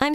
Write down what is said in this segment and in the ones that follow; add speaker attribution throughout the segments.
Speaker 1: I'm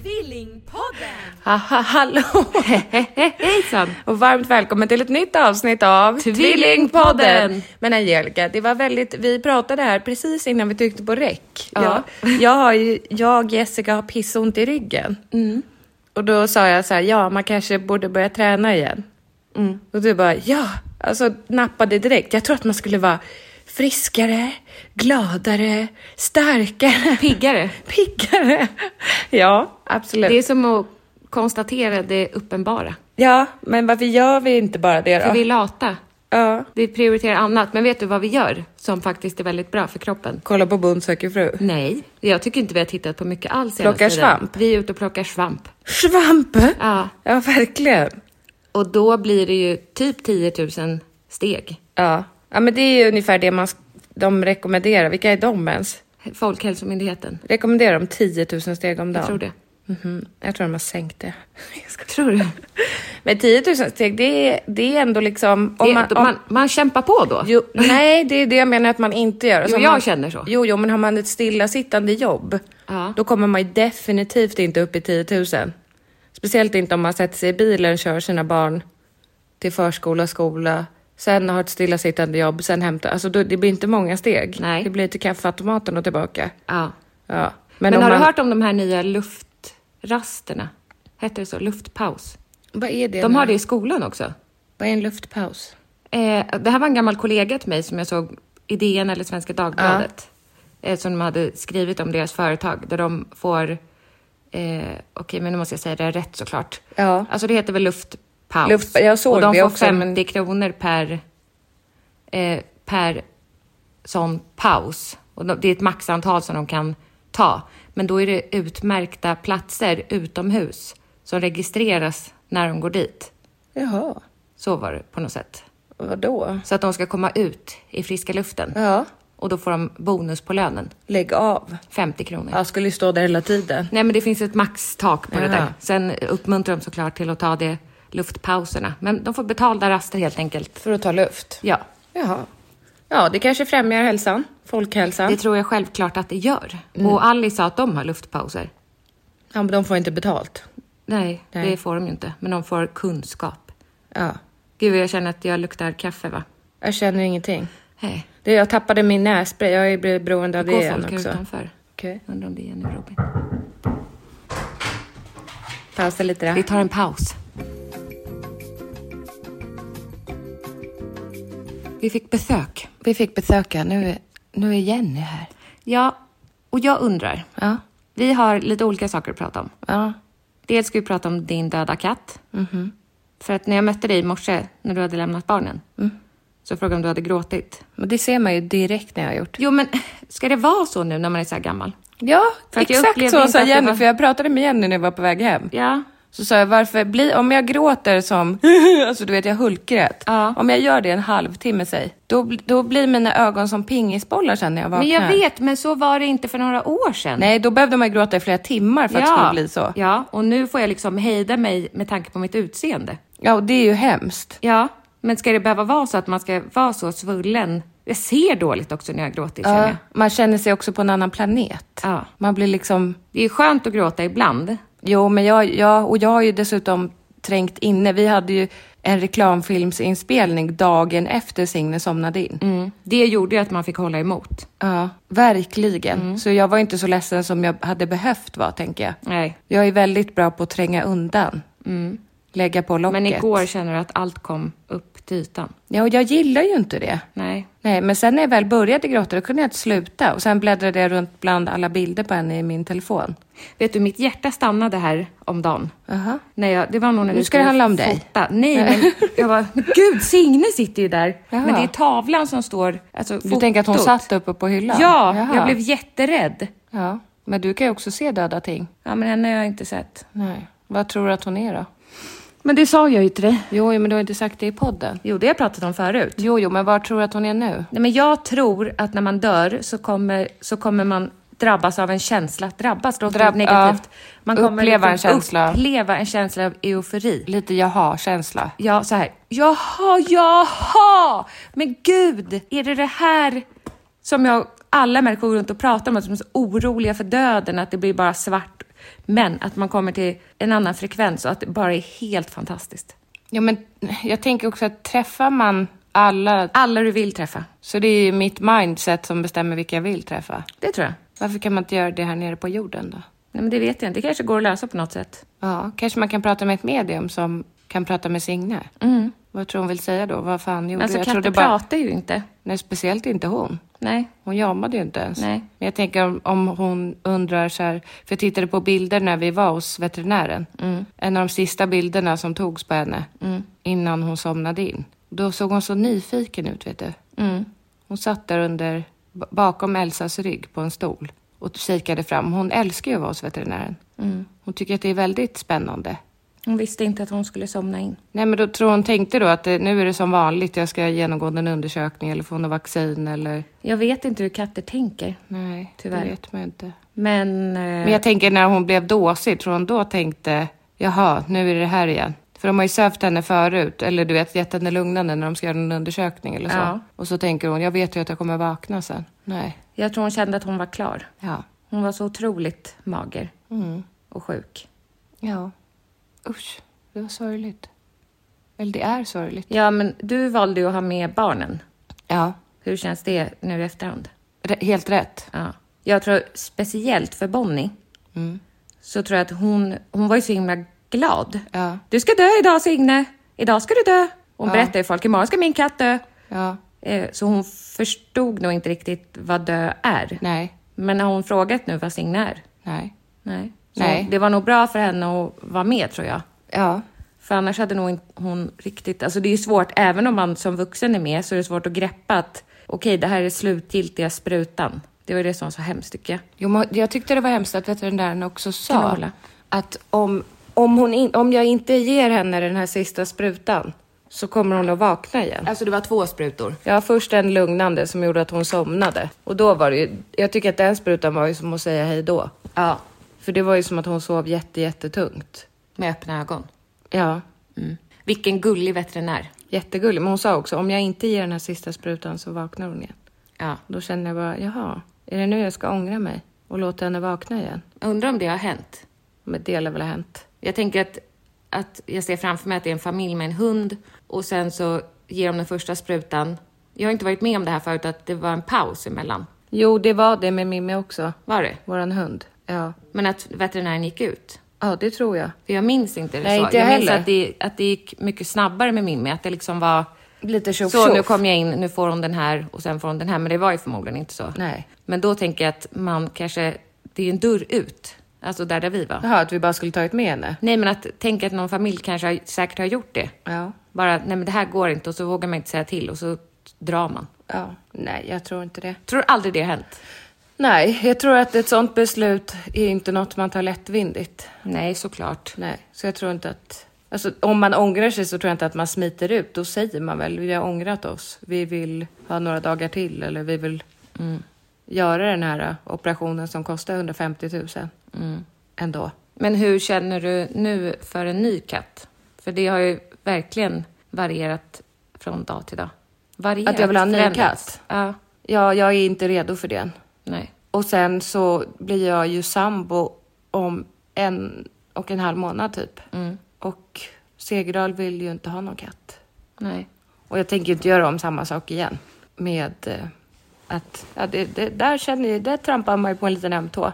Speaker 2: Tvillingpodden!
Speaker 3: Haha, hallå! Hejsan! Och varmt välkommen till ett nytt avsnitt av
Speaker 2: Tvillingpodden.
Speaker 3: Men Angelica, det var väldigt, vi pratade här precis innan vi tryckte på räck.
Speaker 2: Ja.
Speaker 3: Jag, jag, har ju, jag och Jessica har pissont i ryggen.
Speaker 2: Mm.
Speaker 3: Och då sa jag så här, ja man kanske borde börja träna igen.
Speaker 2: Mm.
Speaker 3: Och du bara, ja! Alltså nappade direkt. Jag tror att man skulle vara friskare, gladare, starkare.
Speaker 2: Piggare.
Speaker 3: Piggare! Ja, absolut.
Speaker 2: Det är som att konstatera det uppenbara.
Speaker 3: Ja, men varför gör vi inte bara det
Speaker 2: För
Speaker 3: då?
Speaker 2: vi är lata.
Speaker 3: Ja.
Speaker 2: Vi prioriterar annat. Men vet du vad vi gör som faktiskt är väldigt bra för kroppen?
Speaker 3: Kolla på Bond söker fru.
Speaker 2: Nej, jag tycker inte vi har tittat på mycket alls senaste
Speaker 3: Plockar
Speaker 2: tiden.
Speaker 3: svamp?
Speaker 2: Vi är ute och plockar svamp.
Speaker 3: Svamp!
Speaker 2: Ja.
Speaker 3: Ja, verkligen.
Speaker 2: Och då blir det ju typ 10 000 steg.
Speaker 3: Ja. ja, men det är ju ungefär det man, sk- de rekommenderar. Vilka är de ens?
Speaker 2: Folkhälsomyndigheten.
Speaker 3: Rekommenderar de 10 000 steg om dagen?
Speaker 2: Jag tror det.
Speaker 3: Mhm. Jag tror de har sänkt det. Jag skojar.
Speaker 2: Tror du?
Speaker 3: Men 10 000 steg, det är, det är ändå liksom...
Speaker 2: Om man, man, man kämpar på då.
Speaker 3: Jo, nej, det är det jag menar att man inte gör.
Speaker 2: Jo,
Speaker 3: om
Speaker 2: jag
Speaker 3: man,
Speaker 2: känner så.
Speaker 3: Jo, jo, men har man ett stillasittande jobb,
Speaker 2: Ja.
Speaker 3: då kommer man ju definitivt inte upp i 10 000. Speciellt inte om man sätter sig i bilen, kör sina barn till förskola, skola, sen har ett stillasittande jobb, sen hämtar... Alltså, då, det blir inte många steg.
Speaker 2: Nej.
Speaker 3: Det blir till kaffeautomaten och tillbaka.
Speaker 2: Ja.
Speaker 3: Ja.
Speaker 2: Men,
Speaker 3: om
Speaker 2: har du
Speaker 3: man-
Speaker 2: hört om de här nya luftrasterna? Heter det så? Luftpaus?
Speaker 3: Vad är det?
Speaker 2: De
Speaker 3: nu?
Speaker 2: har det i skolan också.
Speaker 3: Vad är en luftpaus?
Speaker 2: Eh, det här var en gammal kollega till mig som jag såg i DN eller Svenska Dagbladet. Eh, som de hade skrivit om deras företag där de får... Eh, Okej, men nu måste jag säga det rätt såklart.
Speaker 3: Ja.
Speaker 2: Alltså det heter väl luftpaus?
Speaker 3: Luft- jag såg
Speaker 2: Och de
Speaker 3: det
Speaker 2: får
Speaker 3: också.
Speaker 2: 50 kronor per, eh, per sån paus. Och de, det är ett maxantal som de kan ta. Men då är det utmärkta platser utomhus som registreras när de går dit.
Speaker 3: Jaha,
Speaker 2: Så var det på något sätt.
Speaker 3: vadå?
Speaker 2: Så att de ska komma ut i friska luften.
Speaker 3: Ja,
Speaker 2: Och då får de bonus på lönen.
Speaker 3: lägg av.
Speaker 2: 50 kronor.
Speaker 3: Jag skulle ju stå där hela tiden.
Speaker 2: Nej, men det finns ett maxtak på det
Speaker 3: Ja.
Speaker 2: där. Sen uppmuntrar de såklart till att ta det luftpauserna. Men de får betalda raster helt enkelt.
Speaker 3: För att ta luft?
Speaker 2: Ja,
Speaker 3: Jaha. Ja, det kanske främjar hälsan, folkhälsan.
Speaker 2: det tror jag självklart att det gör.
Speaker 3: Mm.
Speaker 2: Och Alice sa att de har luftpauser.
Speaker 3: Ja, men de får inte betalt.
Speaker 2: Nej,
Speaker 3: Nej.
Speaker 2: det får de ju inte. Men de får kunskap.
Speaker 3: Ja.
Speaker 2: Gud, jag känner att jag luktar kaffe, va?
Speaker 3: Jag känner ingenting.
Speaker 2: Hej.
Speaker 3: Det, jag tappade min nässpray, jag är beroende av det
Speaker 2: Går folk
Speaker 3: igen
Speaker 2: här
Speaker 3: också.
Speaker 2: utanför?
Speaker 3: Okej.
Speaker 2: Undrar om det är Jenny och Robin.
Speaker 3: Pausa lite där.
Speaker 2: Vi tar en paus. Vi fick besök.
Speaker 3: Vi fick besöka, nu är, nu är Jenny här.
Speaker 2: Ja, och jag undrar.
Speaker 3: Ja.
Speaker 2: Vi har lite olika saker att prata om.
Speaker 3: Ja. Mhm.
Speaker 2: Dels ska vi prata om din döda katt. För att när jag mötte dig i morse, när du hade lämnat barnen,
Speaker 3: Mm.
Speaker 2: så frågade jag om du hade gråtit.
Speaker 3: Men det ser man ju direkt när jag har gjort.
Speaker 2: Jo, men ska det vara så nu när man är så här gammal?
Speaker 3: Ja,
Speaker 2: För att jag
Speaker 3: exakt
Speaker 2: upplevde
Speaker 3: så
Speaker 2: inte
Speaker 3: sa
Speaker 2: att det
Speaker 3: Jenny,
Speaker 2: var-
Speaker 3: för jag pratade med Jenny när jag var på väg hem.
Speaker 2: Ja.
Speaker 3: Så sa jag, varför bli, om jag gråter som, alltså du vet jag hulkgrät.
Speaker 2: Ja.
Speaker 3: Om jag gör det en halvtimme säg, då, bl- då blir mina ögon som pingisbollar sen när jag vaknar.
Speaker 2: Men jag vet, men så var det inte för några år sedan.
Speaker 3: Nej, då behövde man ju gråta i flera timmar för att det skulle bli så. Ja.
Speaker 2: Mm. Ja, och nu får jag liksom hejda mig med tanke på mitt utseende.
Speaker 3: och det är ju hemskt.
Speaker 2: Ja, men ska det behöva vara så att man ska vara så svullen Jag ser dåligt också när jag gråter, känner
Speaker 3: Ja,
Speaker 2: jag.
Speaker 3: man känner sig också på en annan planet.
Speaker 2: Ja.
Speaker 3: Man blir liksom...
Speaker 2: Det är skönt att gråta ibland.
Speaker 3: Jo, men jag, jag, och jag har ju dessutom trängt inne. Vi hade ju en reklamfilmsinspelning dagen efter Signe somnade in.
Speaker 2: Mm. Det gjorde ju att man fick hålla emot.
Speaker 3: Ja, verkligen. Så jag var inte så ledsen som jag hade behövt vara, tänker jag.
Speaker 2: Mm. Nej. Mm.
Speaker 3: Jag är väldigt bra på att tränga undan. Lägga på locket.
Speaker 2: Men igår känner du att allt kom upp till ytan.
Speaker 3: Ja, och jag gillar ju inte det.
Speaker 2: Nej.
Speaker 3: Nej, men sen när jag väl började gråta, då kunde jag inte sluta. Och sen bläddrade jag runt bland alla bilder på henne i min telefon.
Speaker 2: Vet du, mitt hjärta stannade här om dagen.
Speaker 3: Aha.
Speaker 2: När jag, det var nog när
Speaker 3: Nu
Speaker 2: vi
Speaker 3: ska det
Speaker 2: skulle
Speaker 3: handla om dig.
Speaker 2: fota. Nej, men jag var gud, Signe sitter ju där.
Speaker 3: Jaha.
Speaker 2: Men det är tavlan som står, alltså
Speaker 3: Du tänker att hon
Speaker 2: fotot.
Speaker 3: satt uppe på hyllan?
Speaker 2: Ja,
Speaker 3: Jaha.
Speaker 2: jag blev jätterädd.
Speaker 3: Ja, men du kan ju också se döda ting.
Speaker 2: Ja, men henne har jag inte sett.
Speaker 3: Nej. Vad tror du att hon är då?
Speaker 2: Men det sa jag ju till dig.
Speaker 3: Jo, men du har inte sagt det i podden.
Speaker 2: Jo, det har jag pratat om förut.
Speaker 3: Jo, jo, men var tror du att hon är nu?
Speaker 2: Nej, men jag tror att när man dör så kommer, så kommer man drabbas av en känsla. Att drabbas låter
Speaker 3: Drabb-
Speaker 2: negativt.
Speaker 3: ja.
Speaker 2: Man liksom
Speaker 3: Uppleva en känsla.
Speaker 2: Uppleva en känsla av eufori.
Speaker 3: Lite jaha-känsla.
Speaker 2: Ja, så här. Jaha, jaha! Men gud, är det det här som jag, alla människor går runt och pratar om, att de är så oroliga för döden, att det blir bara svart. Men att man kommer till en annan frekvens och att det bara är helt fantastiskt.
Speaker 3: Jo, men jag tänker också att träffar man alla,
Speaker 2: Alla du vill träffa.
Speaker 3: så det är ju mitt mindset som bestämmer vilka jag vill träffa.
Speaker 2: Det tror jag.
Speaker 3: Varför kan man inte göra det här nere på jorden då?
Speaker 2: Nej, men det vet jag inte. Det kanske går att lösa på något sätt.
Speaker 3: Ja, kanske man kan prata med ett medium som kan prata med Signe. Vad tror hon vill säga då? Vad fan gjorde
Speaker 2: Men Mm. alltså,
Speaker 3: jag?
Speaker 2: katter
Speaker 3: trodde bara-
Speaker 2: pratar ju inte.
Speaker 3: Nej, speciellt inte hon.
Speaker 2: Nej.
Speaker 3: Hon jamade ju inte ens.
Speaker 2: Nej.
Speaker 3: Men jag tänker om, om hon undrar så här, för jag tittade på bilder när vi var hos veterinären.
Speaker 2: Mm.
Speaker 3: En av de sista bilderna som togs på henne innan hon somnade in. Då såg hon så nyfiken ut, vet du.
Speaker 2: Mm.
Speaker 3: Hon satt där under, b- bakom Elsas rygg på en stol och kikade fram. Hon älskar ju att vara hos veterinären.
Speaker 2: Mm.
Speaker 3: Hon tycker att det är väldigt spännande.
Speaker 2: Hon visste inte att hon skulle somna in.
Speaker 3: Nej, men då tror hon tänkte då att eh, nu är det som vanligt. Jag ska genomgå en undersökning eller få något vaccin eller...
Speaker 2: Jag vet inte hur katter tänker.
Speaker 3: Nej,
Speaker 2: Tyvärr.
Speaker 3: det vet man ju inte.
Speaker 2: Men... eh,
Speaker 3: Men jag tänker när hon blev dåsig, tror hon då tänkte, jaha, nu är det här igen? För de har ju sövt henne förut, eller du vet, gett henne lugnande när de ska göra en undersökning eller så.
Speaker 2: Ja.
Speaker 3: Och så tänker hon, jag vet ju att jag kommer vakna sen. Nej.
Speaker 2: jag tror hon kände att hon var klar.
Speaker 3: Ja. Mm.
Speaker 2: Hon var så otroligt mager och sjuk.
Speaker 3: Ja. Usch, det var sorgligt. Eller det är sorgligt.
Speaker 2: Ja, men du valde ju att ha med barnen.
Speaker 3: Ja,
Speaker 2: Hur känns det nu i efterhand?
Speaker 3: R- helt rätt.
Speaker 2: Ja. Jag tror speciellt för Bonnie,
Speaker 3: Mm.
Speaker 2: så tror jag att hon, hon var ju så himla glad.
Speaker 3: Ja.
Speaker 2: Du ska dö idag Signe! Idag ska du dö! Hon berättar ju folk, imorgon ska min katt dö!
Speaker 3: Ja.
Speaker 2: Eh, Så hon förstod nog inte riktigt vad dö är.
Speaker 3: Nej.
Speaker 2: Men har hon frågat nu vad Signe är?
Speaker 3: Nej.
Speaker 2: Nej. Så
Speaker 3: Nej.
Speaker 2: Det var nog bra för henne att vara med tror jag.
Speaker 3: Ja.
Speaker 2: För annars hade nog inte hon riktigt... Alltså det är ju svårt, även om man som vuxen är med så är det svårt att greppa att okej, det här är slutgiltiga sprutan. Det var ju det som var så hemskt tycker jag.
Speaker 3: Jo, men jag tyckte det var hemskt att veterinären också
Speaker 2: Kan du
Speaker 3: sa
Speaker 2: hålla?
Speaker 3: att om, om, hon in, om jag inte ger henne den här sista sprutan så kommer hon att vakna igen.
Speaker 2: Alltså det var två sprutor?
Speaker 3: Ja, först en lugnande som gjorde att hon somnade. Och då var det ju, jag tycker att den sprutan var ju som att säga hej då.
Speaker 2: Ja,
Speaker 3: För det var ju som att hon sov jätte, jättetungt.
Speaker 2: med öppna ögon. Mm.
Speaker 3: Ja,
Speaker 2: Vilken gullig veterinär.
Speaker 3: jättegullig. Men hon sa också, om jag inte ger den här sista sprutan så vaknar hon igen.
Speaker 2: Ja.
Speaker 3: Då kände jag bara, jaha, är det nu jag ska ångra mig och låta henne vakna igen?
Speaker 2: Undrar om det har hänt?
Speaker 3: Men det lär väl ha hänt.
Speaker 2: Jag tänker att, att jag ser framför mig att det är en familj med en hund och sen så ger de den första sprutan. Jag har inte varit med om det här förut, att det var en paus emellan.
Speaker 3: Jo, det var det med Mimmi också.
Speaker 2: Var det?
Speaker 3: Våran hund. Ja,
Speaker 2: Men att veterinären gick ut.
Speaker 3: ja det tror jag.
Speaker 2: För jag minns inte det
Speaker 3: Nej,
Speaker 2: så.
Speaker 3: inte
Speaker 2: jag
Speaker 3: jag
Speaker 2: minns
Speaker 3: heller.
Speaker 2: att det, att det gick mycket snabbare med Mimmi. Att det liksom var...
Speaker 3: Lite tjoff
Speaker 2: Så, nu kom jag in, nu får hon den här och sen får hon den här. Men det var ju förmodligen inte så.
Speaker 3: Nej.
Speaker 2: Men då tänker jag att man kanske... Det är ju en dörr ut. Alltså där, där vi var.
Speaker 3: Jaha, att vi bara skulle tagit med henne?
Speaker 2: Nej, men att tänka att någon familj kanske har, säkert har gjort det.
Speaker 3: Ja.
Speaker 2: Bara, nej men det här går inte och så vågar man inte säga till och så drar man.
Speaker 3: Ja. Nej, jag tror inte det.
Speaker 2: Tror aldrig det har hänt.
Speaker 3: Nej, jag tror att ett sånt beslut är inte något man tar lättvindigt.
Speaker 2: Nej, såklart.
Speaker 3: Nej, så jag tror inte att... Alltså, om man ångrar sig så tror jag inte att man smiter ut. Då säger man väl, vi har ångrat oss. Vi vill ha några dagar till eller vi vill
Speaker 2: Mm.
Speaker 3: göra den här ä, operationen som kostar 150 000
Speaker 2: Mm.
Speaker 3: ändå.
Speaker 2: Men hur känner du nu för en ny katt? För det har ju verkligen varierat från dag till dag. Varierat
Speaker 3: att jag vill ha en ny
Speaker 2: tränet.
Speaker 3: katt.
Speaker 2: Ja.
Speaker 3: Ja, jag är inte redo för det än.
Speaker 2: Nej.
Speaker 3: Och sen så blir jag ju sambo om en och en halv månad typ.
Speaker 2: Mm.
Speaker 3: Och Segerdal vill ju inte ha någon katt.
Speaker 2: Nej.
Speaker 3: Och jag tänker inte göra om samma sak igen. Med eh, att, ja, det, det, där känner jag, där trampar man ju på en liten öm tå.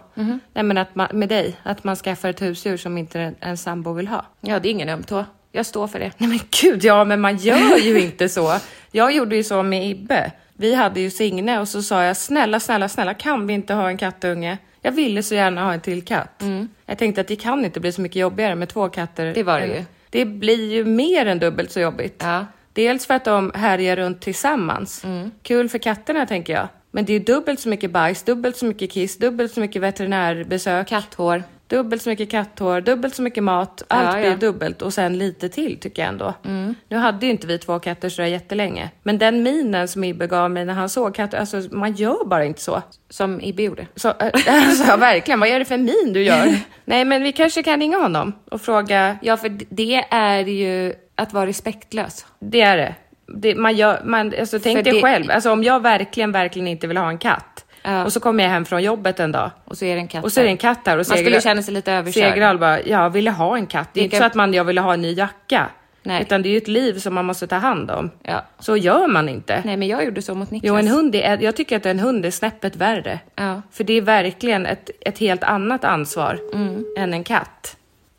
Speaker 3: Nej men att man, med dig, att man skaffar ett husdjur som inte en, en sambo vill ha.
Speaker 2: Ja, det är ingen öm tå. Jag står för det.
Speaker 3: Nej men gud, ja men man gör ju inte så. Jag gjorde ju så med Ibbe. Vi hade ju Signe och så sa jag snälla, snälla, snälla kan vi inte ha en kattunge? Jag ville så gärna ha en till katt. Jag tänkte att det kan inte bli så mycket jobbigare med två katter.
Speaker 2: Mm. Det var det ju.
Speaker 3: Det blir ju mer än dubbelt så jobbigt.
Speaker 2: Ja. Mm.
Speaker 3: Dels för att de härjar runt tillsammans. Kul för katterna tänker jag. Men det är ju dubbelt så mycket bajs, dubbelt så mycket kiss, dubbelt så mycket veterinärbesök.
Speaker 2: Katthår.
Speaker 3: Dubbelt så mycket katthår, dubbelt så mycket mat. Allt
Speaker 2: Ja, ja.
Speaker 3: blir dubbelt och sen lite till tycker jag ändå.
Speaker 2: Mm.
Speaker 3: Nu hade ju inte vi två katter sådär jättelänge. Men den minen som Ibbe gav mig när han såg katter, alltså man gör bara inte så.
Speaker 2: Som Ibbe gjorde.
Speaker 3: så äh, alltså, verkligen, vad är det för min du gör? Nej men vi kanske kan ringa honom och fråga.
Speaker 2: Ja, för det är ju att vara respektlös.
Speaker 3: Det är det. det man gör, man, alltså, tänk
Speaker 2: För
Speaker 3: dig
Speaker 2: det-
Speaker 3: själv, alltså, om jag verkligen, verkligen inte vill ha en katt.
Speaker 2: Ja.
Speaker 3: Och så kommer jag hem från jobbet en dag.
Speaker 2: Och så är det en katt
Speaker 3: Och så är det en katt där. Och
Speaker 2: Man skulle
Speaker 3: Segerö-
Speaker 2: känna sig lite överkörd.
Speaker 3: Segeröl bara, jag ville ha en katt. Det är
Speaker 2: Det
Speaker 3: inte
Speaker 2: kan-
Speaker 3: så att man, jag ville ha en ny jacka.
Speaker 2: Nej.
Speaker 3: Utan det är ju ett liv som man måste ta hand om.
Speaker 2: Ja.
Speaker 3: Så gör man inte.
Speaker 2: Nej, men jag gjorde så mot Niklas.
Speaker 3: Jo, en hund är, jag tycker att en hund är snäppet värre.
Speaker 2: Ja.
Speaker 3: För det är verkligen ett, ett helt annat ansvar
Speaker 2: Mm.
Speaker 3: än en katt.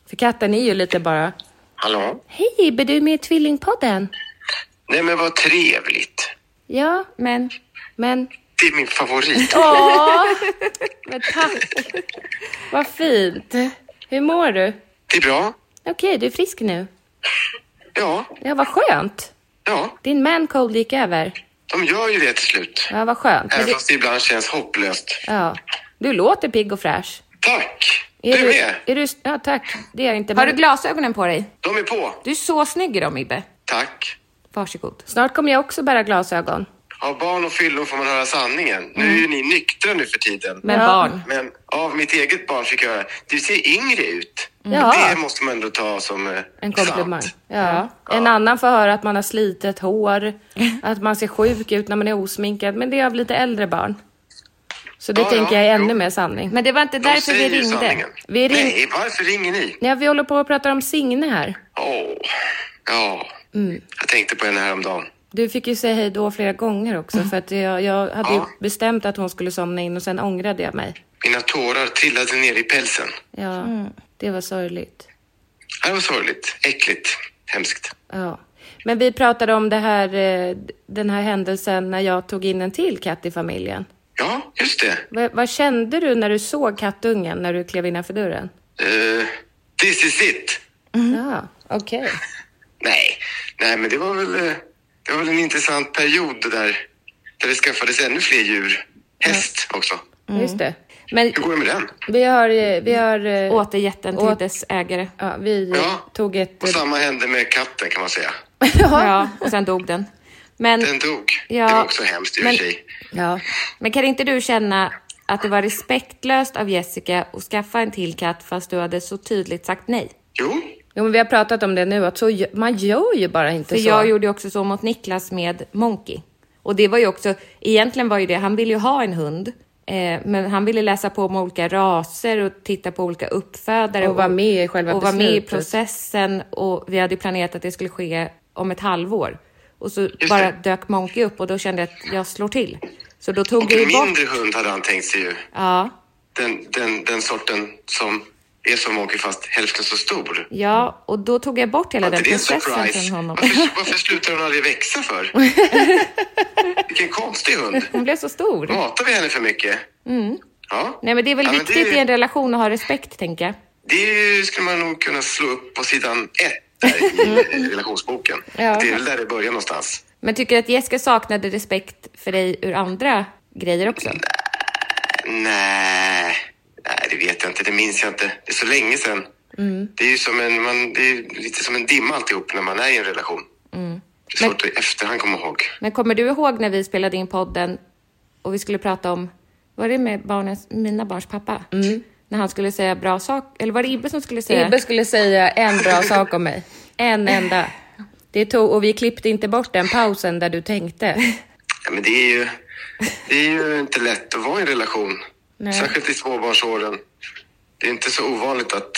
Speaker 3: För katten är ju lite bara,
Speaker 4: Hallå?
Speaker 3: hej Ibbe, du är med i Tvillingpodden.
Speaker 4: Nej men vad trevligt.
Speaker 3: Ja,
Speaker 2: Men,
Speaker 3: men
Speaker 4: Det är min favorit.
Speaker 3: Åh, men tack. Vad fint. Hur mår du?
Speaker 4: Det är bra.
Speaker 3: Okej, du är frisk nu.
Speaker 4: Ja,
Speaker 3: Ja, vad skönt.
Speaker 4: ja.
Speaker 3: Din mancold gick över.
Speaker 4: De gör ju det till slut.
Speaker 3: Ja, vad skönt. Men
Speaker 4: Även
Speaker 3: du,
Speaker 4: fast det ibland känns hopplöst.
Speaker 3: ja. du låter pigg och fräsch.
Speaker 4: Tack!
Speaker 3: Är
Speaker 4: Du med.
Speaker 3: Är du, ja, tack. Det är jag inte.
Speaker 2: har
Speaker 3: Men
Speaker 2: du glasögonen på dig?
Speaker 4: De är på.
Speaker 2: Du är så snygg i dem, Ibbe.
Speaker 4: Tack.
Speaker 2: Varsågod.
Speaker 3: Snart kommer jag också bära glasögon.
Speaker 4: Av barn och fyllon får man höra sanningen. Nu
Speaker 3: Mm.
Speaker 4: är ju ni nyktra nu för tiden.
Speaker 2: Men
Speaker 3: Ja.
Speaker 2: barn.
Speaker 4: Men av mitt eget barn fick jag höra, du ser yngre ut.
Speaker 3: Mm. Ja.
Speaker 4: Det måste man ändå ta som eh,
Speaker 3: En komplimang.
Speaker 4: sant.
Speaker 3: Ja. En annan får höra att man har slitet hår, att man ser sjuk ut när man är osminkad. Men det är av lite äldre barn. Så det
Speaker 4: Ja,
Speaker 3: tänker
Speaker 4: ja,
Speaker 3: jag är ännu
Speaker 4: jo.
Speaker 3: mer sanning.
Speaker 2: Men det var inte
Speaker 4: De
Speaker 2: därför vi
Speaker 4: säger ju
Speaker 2: ringde.
Speaker 4: sanningen.
Speaker 3: Vi ring-
Speaker 4: Nej, varför ringer ni?
Speaker 3: Ja, vi håller på och pratar om Signe här.
Speaker 4: Åh, ja.
Speaker 3: Mm.
Speaker 4: Jag tänkte på henne häromdagen.
Speaker 3: Du fick ju säga hej då flera gånger också för att jag, jag hade ju
Speaker 4: Ja.
Speaker 3: bestämt att hon skulle somna in och sen ångrade jag mig.
Speaker 4: Mina tårar trillade ner i pälsen.
Speaker 3: Ja, det var sorgligt.
Speaker 4: Ja, Det var sorgligt, äckligt, hemskt.
Speaker 3: Ja. Men vi pratade om det här, eh, den här händelsen när jag tog in en till katt i familjen.
Speaker 4: Ja, just det.
Speaker 3: Va, vad kände du när du såg kattungen när du klev innanför dörren?
Speaker 4: Eh, this is it.
Speaker 3: Ja, okej.
Speaker 4: Nej, nej, men det var väl, eh, det var väl en intressant period det där, där det skaffades ännu fler djur. Häst också.
Speaker 3: Just det. Men
Speaker 4: Hur går det med den?
Speaker 3: vi har, eh, vi har... eh,
Speaker 2: Åter jätten till
Speaker 3: åt-
Speaker 2: dess ägare.
Speaker 3: Ja, vi eh,
Speaker 4: Ja.
Speaker 3: tog ett...
Speaker 4: Och samma hände med katten kan man säga.
Speaker 2: Ja, och sen dog den. Men,
Speaker 4: Den dog.
Speaker 2: Ja.
Speaker 4: Det var också hemskt i och för
Speaker 2: Men-
Speaker 4: sig.
Speaker 3: Ja.
Speaker 2: men kan inte du känna att det var respektlöst av Jessica att skaffa en till katt fast du hade så tydligt sagt nej?
Speaker 4: Jo,
Speaker 3: Jo, men vi har pratat om det nu, att så, gö- man gör ju bara inte
Speaker 2: För
Speaker 3: så.
Speaker 2: jag gjorde ju också så mot Niklas med Monkey. Och det var ju också, egentligen var ju det, han ville ju ha en hund. Eh, men han ville läsa på om olika raser och titta på olika uppfödare.
Speaker 3: Och vara med i själva
Speaker 2: Och vara med i
Speaker 3: beslutet.
Speaker 2: processen. Och vi hade ju planerat att det skulle ske om ett halvår. Och så
Speaker 4: det.
Speaker 2: bara dök Monkey upp och då kände jag att jag slår till. Så då tog
Speaker 4: Och
Speaker 2: jag
Speaker 4: en
Speaker 2: ju bort...
Speaker 4: mindre hund hade han tänkt sig ju.
Speaker 2: Ja,
Speaker 4: Den, den, den sorten som är som Monkey fast hälften så stor.
Speaker 2: ja, och då tog jag bort hela
Speaker 4: Var
Speaker 2: den
Speaker 4: inte det en
Speaker 2: processen
Speaker 4: surprise?
Speaker 2: från honom.
Speaker 4: Varför, varför slutar hon aldrig växa för? Vilken konstig hund.
Speaker 2: Hon blev så stor.
Speaker 4: Matar vi henne för mycket? Ja.
Speaker 2: Mm. Nej men det är väl
Speaker 4: Ja, men
Speaker 2: viktigt
Speaker 4: det-
Speaker 2: i en relation att ha respekt tänker jag.
Speaker 4: Det är ju- skulle man nog kunna slå upp på sidan ett där
Speaker 2: Mm.
Speaker 4: i relationsboken. Det är väl där det börjar någonstans.
Speaker 2: Men tycker du att Jessica saknade respekt för dig ur andra grejer också?
Speaker 4: Nej, nej det vet jag inte. Det minns jag inte. Det är så länge sedan.
Speaker 2: Mm.
Speaker 4: Det är ju som en, man, det är lite som en dimma alltihop när man är i en relation.
Speaker 2: Mm.
Speaker 4: Det är svårt att i efterhand komma ihåg.
Speaker 2: Men kommer du ihåg när vi spelade in podden och vi skulle prata om, var det med barnens, mina barns pappa? När han skulle säga bra saker, eller var det Ibbe som skulle säga?
Speaker 3: Ibbe skulle säga en bra sak om mig. En enda. Det tog, och vi klippte inte bort den pausen där du tänkte.
Speaker 4: Ja, men det är, ju, det är ju inte lätt att vara i en relation.
Speaker 3: Nej.
Speaker 4: Särskilt i småbarnsåren. Det är inte så ovanligt att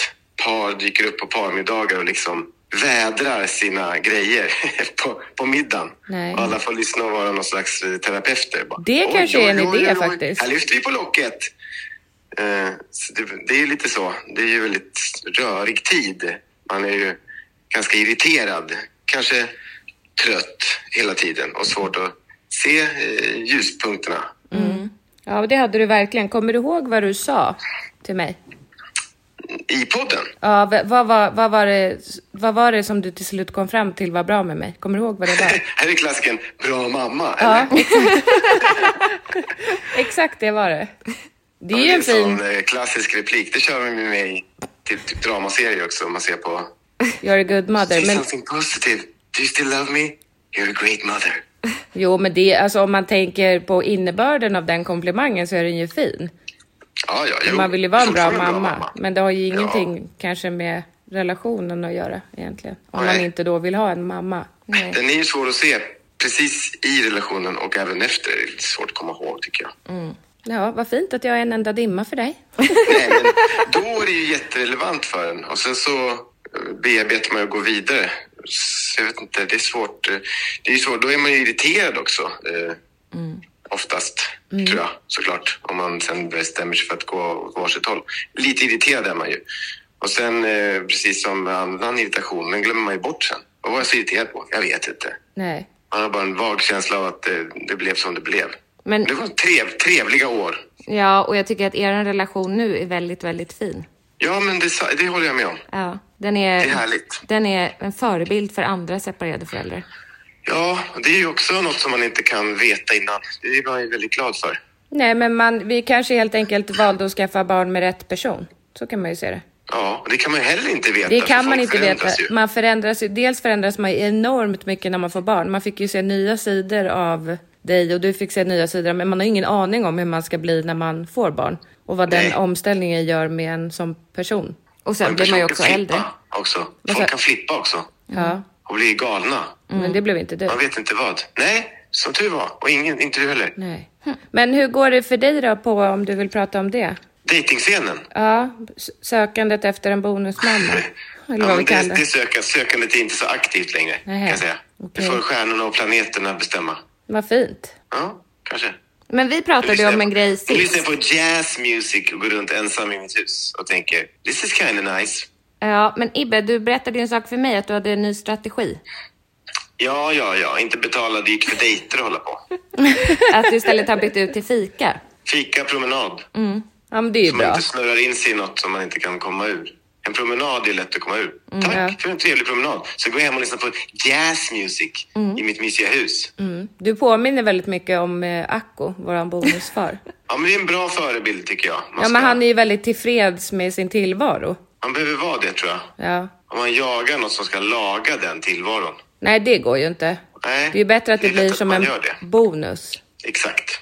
Speaker 4: par dyker upp på parmiddagar och liksom vädrar sina grejer på, på middagen.
Speaker 3: Nej.
Speaker 4: Och alla får lyssna och vara någon slags eh, terapeuter. Bara,
Speaker 3: Det
Speaker 4: "Oj,
Speaker 3: kanske är en
Speaker 4: oj, oj,
Speaker 3: idé
Speaker 4: oj,
Speaker 3: faktiskt."
Speaker 4: Här lyfter vi på locket. Eh, så det, det är ju lite så. Det är ju väldigt rörig tid. Man är ju ganska irriterad. Kanske trött hela tiden och svårt att se eh, ljuspunkterna.
Speaker 3: Ja, det hade du verkligen. Kommer du ihåg vad du sa till mig?
Speaker 4: I podden?
Speaker 3: Ja, v- vad, var, vad, var det, vad var det som du till slut kom fram till var bra med mig? Kommer du ihåg vad det var?
Speaker 4: Här är klassiken bra mamma.
Speaker 3: Ja,
Speaker 4: eller?
Speaker 3: exakt. exakt det var det. Det är ju en
Speaker 4: en
Speaker 3: fin...
Speaker 4: sån eh, klassisk replik. Det kör vi med mig till typ dramaserier också. Om man ser på...
Speaker 3: You're a good
Speaker 4: Say
Speaker 3: mother. Men,
Speaker 4: something positive. Do you still love me? You're a great mother.
Speaker 3: jo, men det, alltså, om man tänker på innebörden av den komplimangen så är den ju fin.
Speaker 4: Ja, ja, jo.
Speaker 3: Man vill ju vara en bra
Speaker 4: Fortfarande
Speaker 3: mamma, men det har ju
Speaker 4: Ja.
Speaker 3: ingenting kanske med relationen att göra egentligen. Om man
Speaker 4: Nej.
Speaker 3: inte då vill ha en mamma.
Speaker 4: Den är ju svår att se precis i relationen och även efter. Det är lite svårt att komma ihåg tycker jag.
Speaker 3: Ja, vad fint att jag är en enda dimma för dig.
Speaker 4: Nej, men då är det ju jätterelevant för en. Och sen så eh, bearbetar man ju och går vidare. Så Jag vet inte, det är svårt. eh, Det är ju svårt. Då är man ju irriterad också. Eh, Oftast, tror jag, såklart. Om man sen bestämmer sig för att gå åt varsitt håll. Lite irriterad är man ju. Och sen, eh, precis som med annan irritation, den glömmer man ju bort sen. Vad var jag så irriterad på? Jag vet inte.
Speaker 3: Nej.
Speaker 4: Man har bara en vag känsla av att eh, det blev som det blev.
Speaker 2: Men-
Speaker 4: Det var trev, trevliga år.
Speaker 2: Ja, och jag tycker att er relation nu är väldigt, väldigt fin.
Speaker 4: Ja, men det, sa- det håller jag med om.
Speaker 2: Ja, den är,
Speaker 4: Det är härligt.
Speaker 2: Den är en förebild för andra separerade föräldrar.
Speaker 4: Ja, det är ju också något som man inte kan veta innan. Det är man ju väldigt glad för.
Speaker 3: Nej, men man, vi kanske helt enkelt valde att skaffa barn med rätt person. Så kan man ju se det.
Speaker 4: Ja, och det kan man ju heller inte veta.
Speaker 3: Det
Speaker 4: för
Speaker 3: kan man
Speaker 4: Alltså, folk
Speaker 3: inte veta.
Speaker 4: förändras ju.
Speaker 3: Man förändras ju. Dels förändras man ju enormt mycket när man får barn. Man fick ju se nya sidor av dig och du fick se nya sidor. Men man har ingen aning om hur man ska bli när man får barn. Och vad den
Speaker 4: Nej.
Speaker 3: omställningen gör med en som person.
Speaker 2: Och
Speaker 4: Och
Speaker 2: sen
Speaker 4: en
Speaker 2: blir man ju
Speaker 4: person
Speaker 2: också
Speaker 4: kan flippa
Speaker 2: äldre.
Speaker 4: Också.
Speaker 3: Vad sa-
Speaker 4: Folk kan flippa också
Speaker 3: Ja,
Speaker 4: och bli galna.
Speaker 3: men det blev inte du.
Speaker 4: Man vet inte vad. Nej, som tur var. Och ingen, inte du heller.
Speaker 3: Nej. Men hur går det för dig då på om du vill prata om det?
Speaker 4: Dejtingscenen.
Speaker 3: Ja, s- sökandet efter en bonusmamma. Eller
Speaker 4: Ja,
Speaker 3: vad
Speaker 4: men
Speaker 3: vi
Speaker 4: det,
Speaker 3: kallar
Speaker 4: det
Speaker 3: det.
Speaker 4: söka, sökandet är inte så aktivt längre,
Speaker 3: Nähä,
Speaker 4: kan jag säga.
Speaker 3: okej.
Speaker 4: Det får stjärnorna och planeterna bestämma.
Speaker 3: Vad fint.
Speaker 4: Ja, kanske.
Speaker 2: Men vi pratade ju om en grej
Speaker 4: Jag lyssnar
Speaker 2: sist.
Speaker 4: på jazz music och går runt ensam i mitt hus och tänker this is kinda nice.
Speaker 2: Ja, men Ibbe, du berättade ju en sak för mig att du hade en ny strategi.
Speaker 4: Ja, ja, ja. Inte betala dyrt för dejter och hålla på.
Speaker 2: Att du istället har bytt ut till fika.
Speaker 4: Fika, promenad.
Speaker 3: Mm. Ja, men det är ju
Speaker 4: Så man
Speaker 3: bra.
Speaker 4: inte snurrar in sig i något som man inte kan komma ur. En promenad är lätt att komma ur. Tack
Speaker 3: Mm. ja.
Speaker 4: för en trevlig promenad. Så går jag hem och lyssnar på jazz music
Speaker 3: Mm.
Speaker 4: i mitt mysiga hus.
Speaker 3: Du påminner väldigt mycket om eh, Akko, våran bonusfar.
Speaker 4: Ja, men det är en bra förebild tycker jag. Man,
Speaker 3: Ja,
Speaker 4: ska-
Speaker 3: men han är ju väldigt tillfreds med sin tillvaro.
Speaker 4: man behöver vara det tror jag.
Speaker 3: Ja.
Speaker 4: Om man jagar något som ska laga den tillvaron.
Speaker 3: Nej, det går ju inte.
Speaker 4: Nej,
Speaker 3: Det är ju bättre att det
Speaker 4: det är lätt
Speaker 3: blir
Speaker 4: att
Speaker 3: som
Speaker 4: man
Speaker 3: en
Speaker 4: gör det.
Speaker 3: bonus.
Speaker 4: Exakt.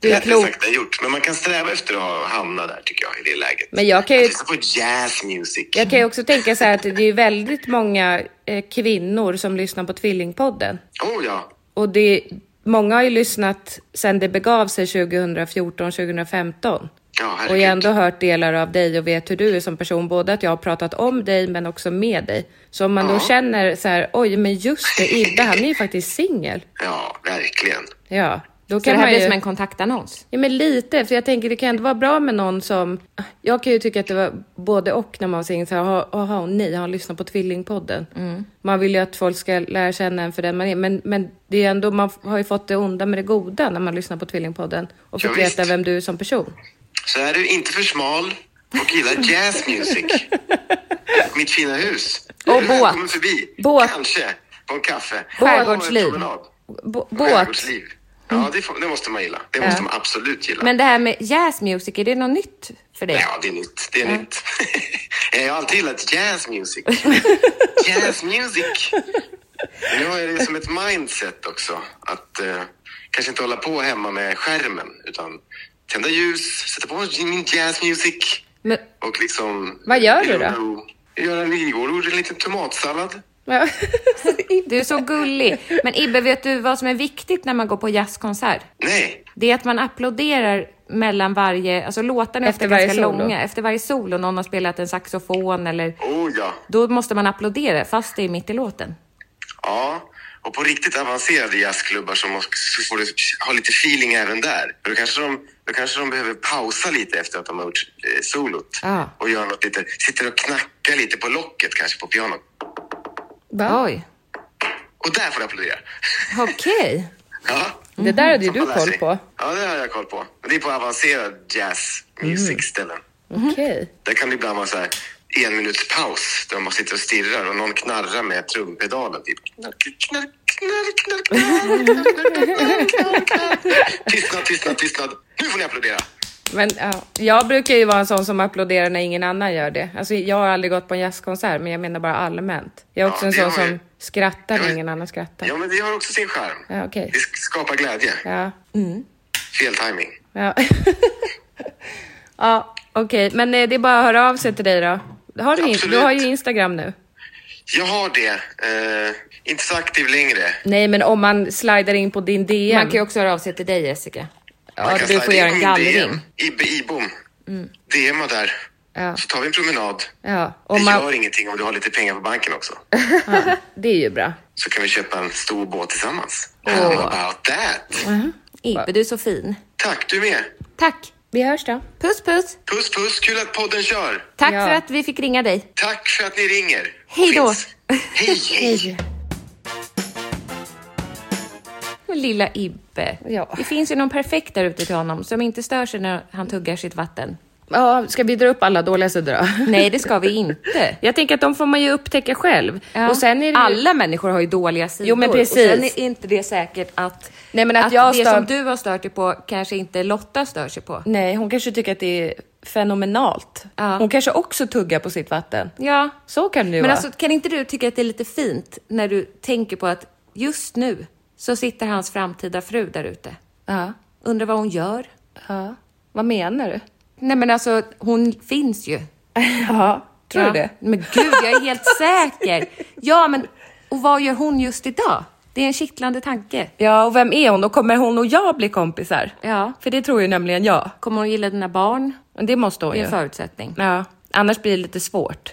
Speaker 3: Du är
Speaker 4: Lättare
Speaker 3: klok.
Speaker 4: sagt än gjort. Men man kan sträva efter att ha- hamna där tycker jag, i det läget.
Speaker 3: Men jag kan ju-
Speaker 4: Att lyssna på jazz music.
Speaker 3: Jag kan ju också tänka så här att det är väldigt många eh, kvinnor som lyssnar på Tvillingpodden.
Speaker 4: Oh ja.
Speaker 3: Och det, många har ju lyssnat sedan det begav sig 2014, 2015.
Speaker 4: Ja, herregud.
Speaker 3: Och jag har ändå hört delar av dig och vet hur du är som person. Både att jag har pratat om dig men också med dig. Så om man då känner så här, oj men just det, Ibbe han är ju faktiskt singel.
Speaker 4: Ja, verkligen.
Speaker 3: Ja, då
Speaker 2: Så
Speaker 3: kan
Speaker 2: det här
Speaker 3: man ju...
Speaker 2: blir som en kontaktannons.
Speaker 3: Ja, men lite. För jag tänker, det kan ändå vara bra med någon som... Jag kan ju tycka att det var både och när man var singel. Så här, aha, aha, och nej, han lyssnar på Tvillingpodden.
Speaker 2: Mm.
Speaker 3: Man vill ju att folk ska lära känna en för den man är. Men, men det är ändå, man har ju fått det onda med det goda när man lyssnar på Tvillingpodden. Och
Speaker 4: Ja,
Speaker 3: fått
Speaker 4: visst.
Speaker 3: veta vem du är som person.
Speaker 4: Så är du inte för smal och gillar jazz music. Mitt fina hus.
Speaker 2: Och
Speaker 4: Du
Speaker 2: båt.
Speaker 4: välkommen förbi.
Speaker 3: Båt.
Speaker 4: Kanske. På en kaffe.
Speaker 2: Skärgårdsliv.
Speaker 4: Och en promenad.
Speaker 3: B- båt.
Speaker 4: Skärgårdsliv. Ja, det, får, det måste man gilla. Det måste man absolut gilla.
Speaker 2: Men det här med jazz music, är det något nytt för dig?
Speaker 4: Ja, det är nytt. Det är nytt. Jag har alltid gillat jazz music. jazz music. Men Nu har jag det som ett mindset också. Att eh, kanske inte hålla på hemma med skärmen utan tända ljus, sätta på min jazz music.
Speaker 2: Men,
Speaker 4: Och liksom...
Speaker 3: Vad gör du då?
Speaker 4: Jag gör en, igår gjorde jag en liten tomatsallad
Speaker 3: Ja.
Speaker 2: Du är så gullig. Men Ibbe, vet du vad som är viktigt när man går på jazzkonsert?
Speaker 4: Nej,
Speaker 2: Det är att man applåderar mellan varje, alltså låtarna är
Speaker 3: Efter
Speaker 2: ofta ganska
Speaker 3: varje solo.
Speaker 2: långa. Efter varje solo, någon har spelat en saxofon eller...
Speaker 4: oh ja.
Speaker 2: Då måste man applådera, fast det är mitt i låten.
Speaker 4: Ja, och på riktigt avancerade jazzklubbar så, måste, så får du ha lite feeling även där. För Då kanske de, då kanske de behöver pausa lite efter att de har gjort eh, solot.
Speaker 2: Ja.
Speaker 4: Och göra något lite, sitter och knackar lite på locket kanske på pianot.
Speaker 3: Va?
Speaker 2: Oj,
Speaker 4: Och där får du applådera.
Speaker 2: okej.
Speaker 4: Ja.
Speaker 3: Det där hade ju du
Speaker 4: Man lär
Speaker 3: koll
Speaker 4: sig.
Speaker 3: på.
Speaker 4: Ja, det har jag koll på. Men Det är på avancerad jazz
Speaker 3: Mm.
Speaker 4: music-ställen.
Speaker 3: Okej.
Speaker 4: Där kan det ibland vara så här en minuts paus där man sitter och stirrar och någon knarrar med trumpedalen. Typ. Knark, knark, knark, knark, knark, knark, knark, knark, knark. Tystnad, tystnad, tystnad. Nu får ni applådera.
Speaker 3: Men ja, jag brukar ju vara en sån som applåderar när ingen annan gör det. Alltså, jag har aldrig gått på en jazzkonsert, men jag menar bara allmänt. Jag är
Speaker 4: Ja,
Speaker 3: också en
Speaker 4: det
Speaker 3: sån
Speaker 4: har
Speaker 3: som
Speaker 4: ju-
Speaker 3: skrattar
Speaker 4: det har
Speaker 3: när
Speaker 4: ju-
Speaker 3: ingen annan skrattar.
Speaker 4: Ja, men det har också sin charm.
Speaker 3: Ja, okej.
Speaker 4: Det skapar glädje.
Speaker 3: Ja.
Speaker 4: Fel timing.
Speaker 3: Ja, ja okej. Men eh, det är bara att höra av sig till dig då. Har du, in- du
Speaker 4: Absolut.
Speaker 3: har ju Instagram nu.
Speaker 4: Jag har det. Eh, inte så aktiv längre.
Speaker 3: Nej, men om man slidar in på din DM.
Speaker 2: Man kan ju också höra av sig till dig, Jessica.
Speaker 4: Man
Speaker 2: Ja,
Speaker 4: kan
Speaker 2: du
Speaker 4: slida
Speaker 2: får
Speaker 4: in
Speaker 2: göra
Speaker 4: på
Speaker 2: en
Speaker 4: min
Speaker 2: gallring.
Speaker 4: DM. Ibbe Ibom. DMa där.
Speaker 3: Ja.
Speaker 4: Så tar vi en promenad.
Speaker 3: Ja,
Speaker 4: Det
Speaker 3: om man...
Speaker 4: gör ingenting om du har lite pengar på banken också.
Speaker 3: Det är ju bra.
Speaker 4: så kan vi köpa en stor båt tillsammans. How about that?
Speaker 2: Ibbe, du är så fin.
Speaker 4: Tack, du med.
Speaker 2: Tack.
Speaker 3: Vi hörs då.
Speaker 2: Puss, puss.
Speaker 4: Puss, puss. Kul att podden kör.
Speaker 2: Tack
Speaker 3: Ja.
Speaker 2: för att vi fick ringa dig.
Speaker 4: Tack för att ni ringer.
Speaker 2: Hej då.
Speaker 4: Finns. Hej, hej.
Speaker 2: Lilla Ibbe.
Speaker 3: Ja.
Speaker 2: Det finns ju någon perfekt där ute till honom som inte stör sig när han tuggar sitt vatten.
Speaker 3: Ja, ska vi dra upp alla dåliga sidor då?
Speaker 2: Nej, det ska vi inte.
Speaker 3: Jag tänker att de får man ju upptäcka själv. Och sen är det ju...
Speaker 2: Alla människor har ju dåliga sidor.
Speaker 3: Jo, men
Speaker 2: Och
Speaker 3: precis.
Speaker 2: sen är inte det säkert att,
Speaker 3: Nej, men att jag
Speaker 2: det
Speaker 3: stör-
Speaker 2: som du har stört dig på kanske inte Lotta stör sig på.
Speaker 3: Nej, hon kanske tycker att det är fenomenalt.
Speaker 2: Ja.
Speaker 3: Hon kanske också tuggar på sitt vatten.
Speaker 2: Ja.
Speaker 3: Så kan det ju
Speaker 2: Men
Speaker 3: vara.
Speaker 2: alltså, kan inte du tycka att det är lite fint när du tänker på att just nu så sitter hans framtida fru där ute.
Speaker 3: Ja.
Speaker 2: Undrar vad hon gör?
Speaker 3: ja. Vad menar du?
Speaker 2: Nej, men alltså hon finns ju.
Speaker 3: Ja, tror
Speaker 2: Ja.
Speaker 3: du det?
Speaker 2: Men gud, jag är helt säker. Ja, men och vad gör hon just idag? Det är en kittlande tanke.
Speaker 3: Ja, och vem är hon? Och kommer hon och jag bli kompisar?
Speaker 2: Ja.
Speaker 3: För det tror ju nämligen jag.
Speaker 2: Kommer hon gilla dina barn?
Speaker 3: Men Det måste hon
Speaker 2: Det är
Speaker 3: ju.
Speaker 2: en förutsättning.
Speaker 3: Ja, annars blir det lite svårt.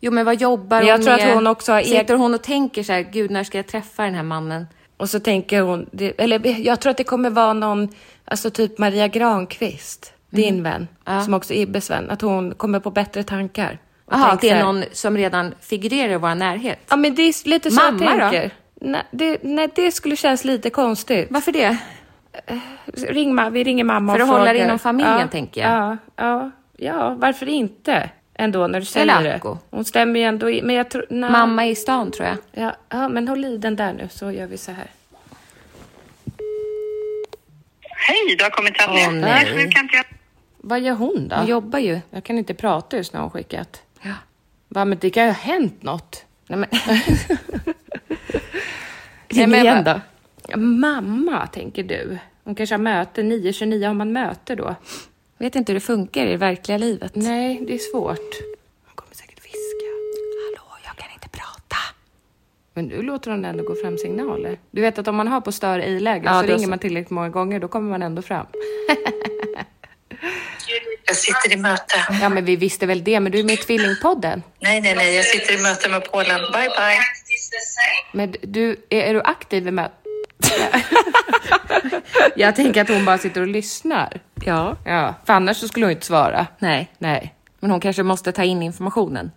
Speaker 2: Jo, men vad jobbar
Speaker 3: Men jag
Speaker 2: hon
Speaker 3: tror att
Speaker 2: med?
Speaker 3: hon också har egen-
Speaker 2: Sitter hon och tänker så här, gud, när ska jag träffa den här mannen?
Speaker 3: Och så tänker hon, det, eller jag tror att det kommer vara någon, alltså typ Maria Granqvist,
Speaker 2: Mm.
Speaker 3: din vän, som också är Ibbes vän, att hon kommer på bättre tankar. Och
Speaker 2: Jaha, att
Speaker 3: tänker
Speaker 2: det
Speaker 3: så här,
Speaker 2: är någon som redan figurerar i vår närhet.
Speaker 3: Ja, men det är lite så
Speaker 2: Mamma
Speaker 3: jag
Speaker 2: då?
Speaker 3: tänker. Nej det, nej, det skulle kännas lite konstigt.
Speaker 2: Varför det?
Speaker 3: Ring, ma- vi ringer mamma
Speaker 2: För
Speaker 3: och
Speaker 2: att hålla det
Speaker 3: frågar.
Speaker 2: inom familjen,
Speaker 3: ja,
Speaker 2: tänker jag.
Speaker 3: Ja, ja, ja, varför inte? Ändå när du säger
Speaker 2: Eller
Speaker 3: det.
Speaker 2: Acko.
Speaker 3: Hon stämmer ju ändå i, men jag tror... nej.
Speaker 2: Mamma är i stan, tror jag.
Speaker 3: Ja, ja, men håll i den där nu så gör vi så här.
Speaker 5: Hej, du har kommit till Agnes.
Speaker 3: Åh,
Speaker 5: Nej,
Speaker 3: nej.
Speaker 5: nu kan inte jag...
Speaker 3: Vad gör hon då?
Speaker 2: Hon jobbar ju.
Speaker 3: Jag kan inte prata just när hon skickat. Ja. Va, men det kan ju ha hänt något.
Speaker 2: Nej, men...
Speaker 3: Ring
Speaker 2: men
Speaker 3: igen
Speaker 2: vad-
Speaker 3: då. Mamma, tänker du. Hon kanske har möte. 9.29 har man möte då.
Speaker 2: Vet inte hur det funkar i det verkliga livet.
Speaker 3: Nej, det är svårt. Hon kommer säkert viska.
Speaker 2: Hallå, jag kan inte prata.
Speaker 3: Men nu låter hon ändå gå fram signaler. Du vet att om man har på stör i läge
Speaker 2: Ja,
Speaker 3: så
Speaker 2: då
Speaker 3: ringer
Speaker 2: så.
Speaker 3: man tillräckligt många gånger, då kommer man ändå fram.
Speaker 5: Jag sitter i möte.
Speaker 3: Ja, men vi visste väl det, men du är med i Tvillingpodden.
Speaker 5: Nej, nej, nej, jag sitter i möte med Polen. Bye, bye.
Speaker 3: Men du, är, är du aktiv i mötet? jag tänker att hon bara sitter och lyssnar.
Speaker 2: Ja.
Speaker 3: Ja, för annars så skulle hon ju inte svara.
Speaker 2: Nej.
Speaker 3: Nej.
Speaker 2: Men hon kanske måste ta in informationen.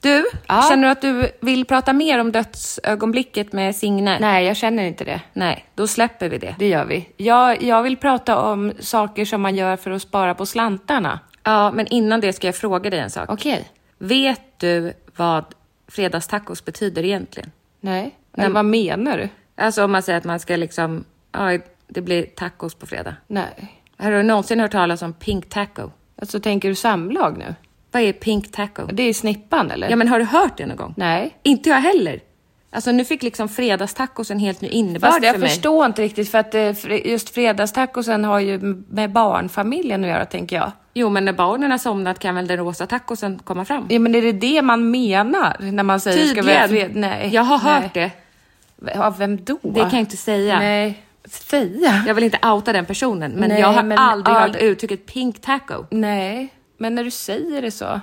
Speaker 2: Du, känner du att du vill prata mer om dödsögonblicket med Signe?
Speaker 3: Nej, jag känner inte det.
Speaker 2: Nej, då släpper vi det.
Speaker 3: Det gör vi. Jag, jag vill prata om saker som man gör för att spara på slantarna.
Speaker 2: Ja, men innan det ska jag fråga dig en sak.
Speaker 3: Okej.
Speaker 2: Vet du vad fredagstacos betyder egentligen?
Speaker 3: Nej. Nej. Vad menar du?
Speaker 2: Alltså om man säger att man ska liksom, ja, det blir tacos på fredag.
Speaker 3: Nej.
Speaker 2: Har du någonsin hört talas om pink taco?
Speaker 3: Alltså, tänker du samlag nu?
Speaker 2: Vad är pink taco?
Speaker 3: Det är snippan, eller?
Speaker 2: Ja, men har du hört det någon gång?
Speaker 3: Nej.
Speaker 2: Inte jag heller. Alltså nu fick liksom fredagstacos en helt ny innebörd
Speaker 3: Fast jag
Speaker 2: för mig.
Speaker 3: förstår inte riktigt för att eh, fr- just fredagstacosen har ju m- med barnfamiljen att göra tänker jag.
Speaker 2: Jo, men när barnen har somnat kan väl den rosa tacosen komma fram?
Speaker 3: Ja men är det det man menar när man säger ska vi ha fred- Nej.
Speaker 2: Jag har
Speaker 3: nej.
Speaker 2: hört det.
Speaker 3: V- Av vem då?
Speaker 2: Det kan jag inte säga.
Speaker 3: Nej. Säga?
Speaker 2: Jag vill inte outa den personen, men
Speaker 3: Nej,
Speaker 2: jag har
Speaker 3: men
Speaker 2: aldrig
Speaker 3: all-
Speaker 2: hört uttrycket pink taco.
Speaker 3: Nej. Men när du säger det så.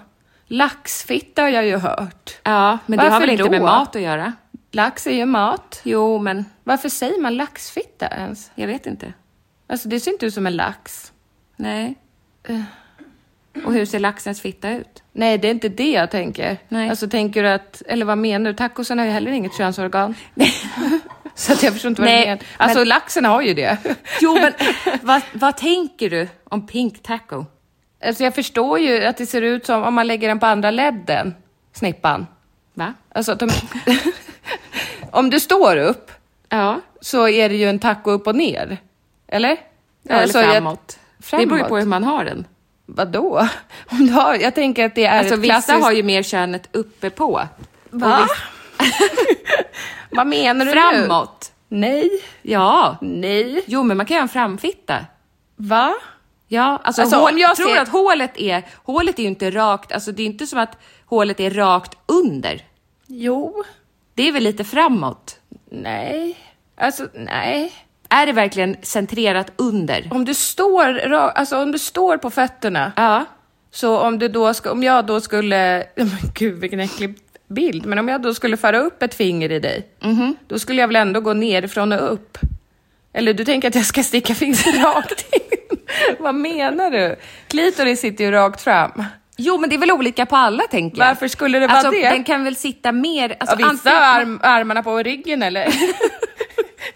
Speaker 3: Laxfitta har jag ju hört.
Speaker 2: Ja, men det har
Speaker 3: Varför
Speaker 2: väl inte
Speaker 3: då?
Speaker 2: med mat att göra?
Speaker 3: Lax är ju mat.
Speaker 2: Jo, men
Speaker 3: Varför säger man laxfitta ens?
Speaker 2: jag vet inte.
Speaker 3: Alltså det ser inte ut som en lax.
Speaker 2: Nej.
Speaker 3: Eh.
Speaker 2: Och hur ser laxens fitta ut?
Speaker 3: Nej, det är inte det jag tänker.
Speaker 2: Nej.
Speaker 3: Alltså tänker du att, eller vad menar du? Tacosen har ju heller inget könsorgan. Så att jag förstår inte vad
Speaker 2: Nej,
Speaker 3: du menar. Alltså
Speaker 2: men-
Speaker 3: laxen har ju det.
Speaker 2: Jo, men vad, vad tänker du om pink taco?
Speaker 3: Alltså jag förstår ju att det ser ut som om man lägger den på andra ledden, snippan.
Speaker 2: Va?
Speaker 3: Alltså att de... om du står upp
Speaker 2: Ja.
Speaker 3: så är det ju en taco upp och ner. Eller? Alltså,
Speaker 2: Ja,
Speaker 3: jag-
Speaker 2: eller framåt. Det beror ju på hur man har den.
Speaker 3: Vadå? Om du har, jag tänker att det är
Speaker 2: Alltså
Speaker 3: ett
Speaker 2: vissa
Speaker 3: klassiskt...
Speaker 2: har ju mer könet uppe på.
Speaker 3: Va? vad menar du nu?
Speaker 2: Framåt.
Speaker 3: Nej.
Speaker 2: Ja.
Speaker 3: Nej.
Speaker 2: Jo, men man kan göra en framfitta.
Speaker 3: Va?
Speaker 2: Ja, alltså,
Speaker 3: Alltså,
Speaker 2: hål,
Speaker 3: om
Speaker 2: jag
Speaker 3: jag
Speaker 2: tror
Speaker 3: ser-
Speaker 2: att hålet är, hålet är ju inte rakt, alltså det är inte som att hålet är rakt under.
Speaker 3: Jo.
Speaker 2: Det är väl lite framåt?
Speaker 3: Nej. Alltså, nej.
Speaker 2: Är det verkligen centrerat under?
Speaker 3: Om du står, ra- alltså, om du står på fötterna,
Speaker 2: Ja.
Speaker 3: så om, du då ska, om jag då skulle... Men Gud, vilken äcklig bild. Men om jag då skulle föra upp ett finger i dig,
Speaker 2: Mhm.
Speaker 3: då skulle jag väl ändå gå nerifrån och upp? Eller du tänker att jag ska sticka fingret rakt in? Vad menar du? Klitoris sitter ju rakt fram.
Speaker 2: Jo, men det är väl olika på alla tänker jag.
Speaker 3: Varför skulle det vara
Speaker 2: alltså,
Speaker 3: det?
Speaker 2: Den kan väl sitta mer... Alltså,
Speaker 3: Ja, vissa
Speaker 2: antingen-
Speaker 3: har arm, armarna på ryggen eller?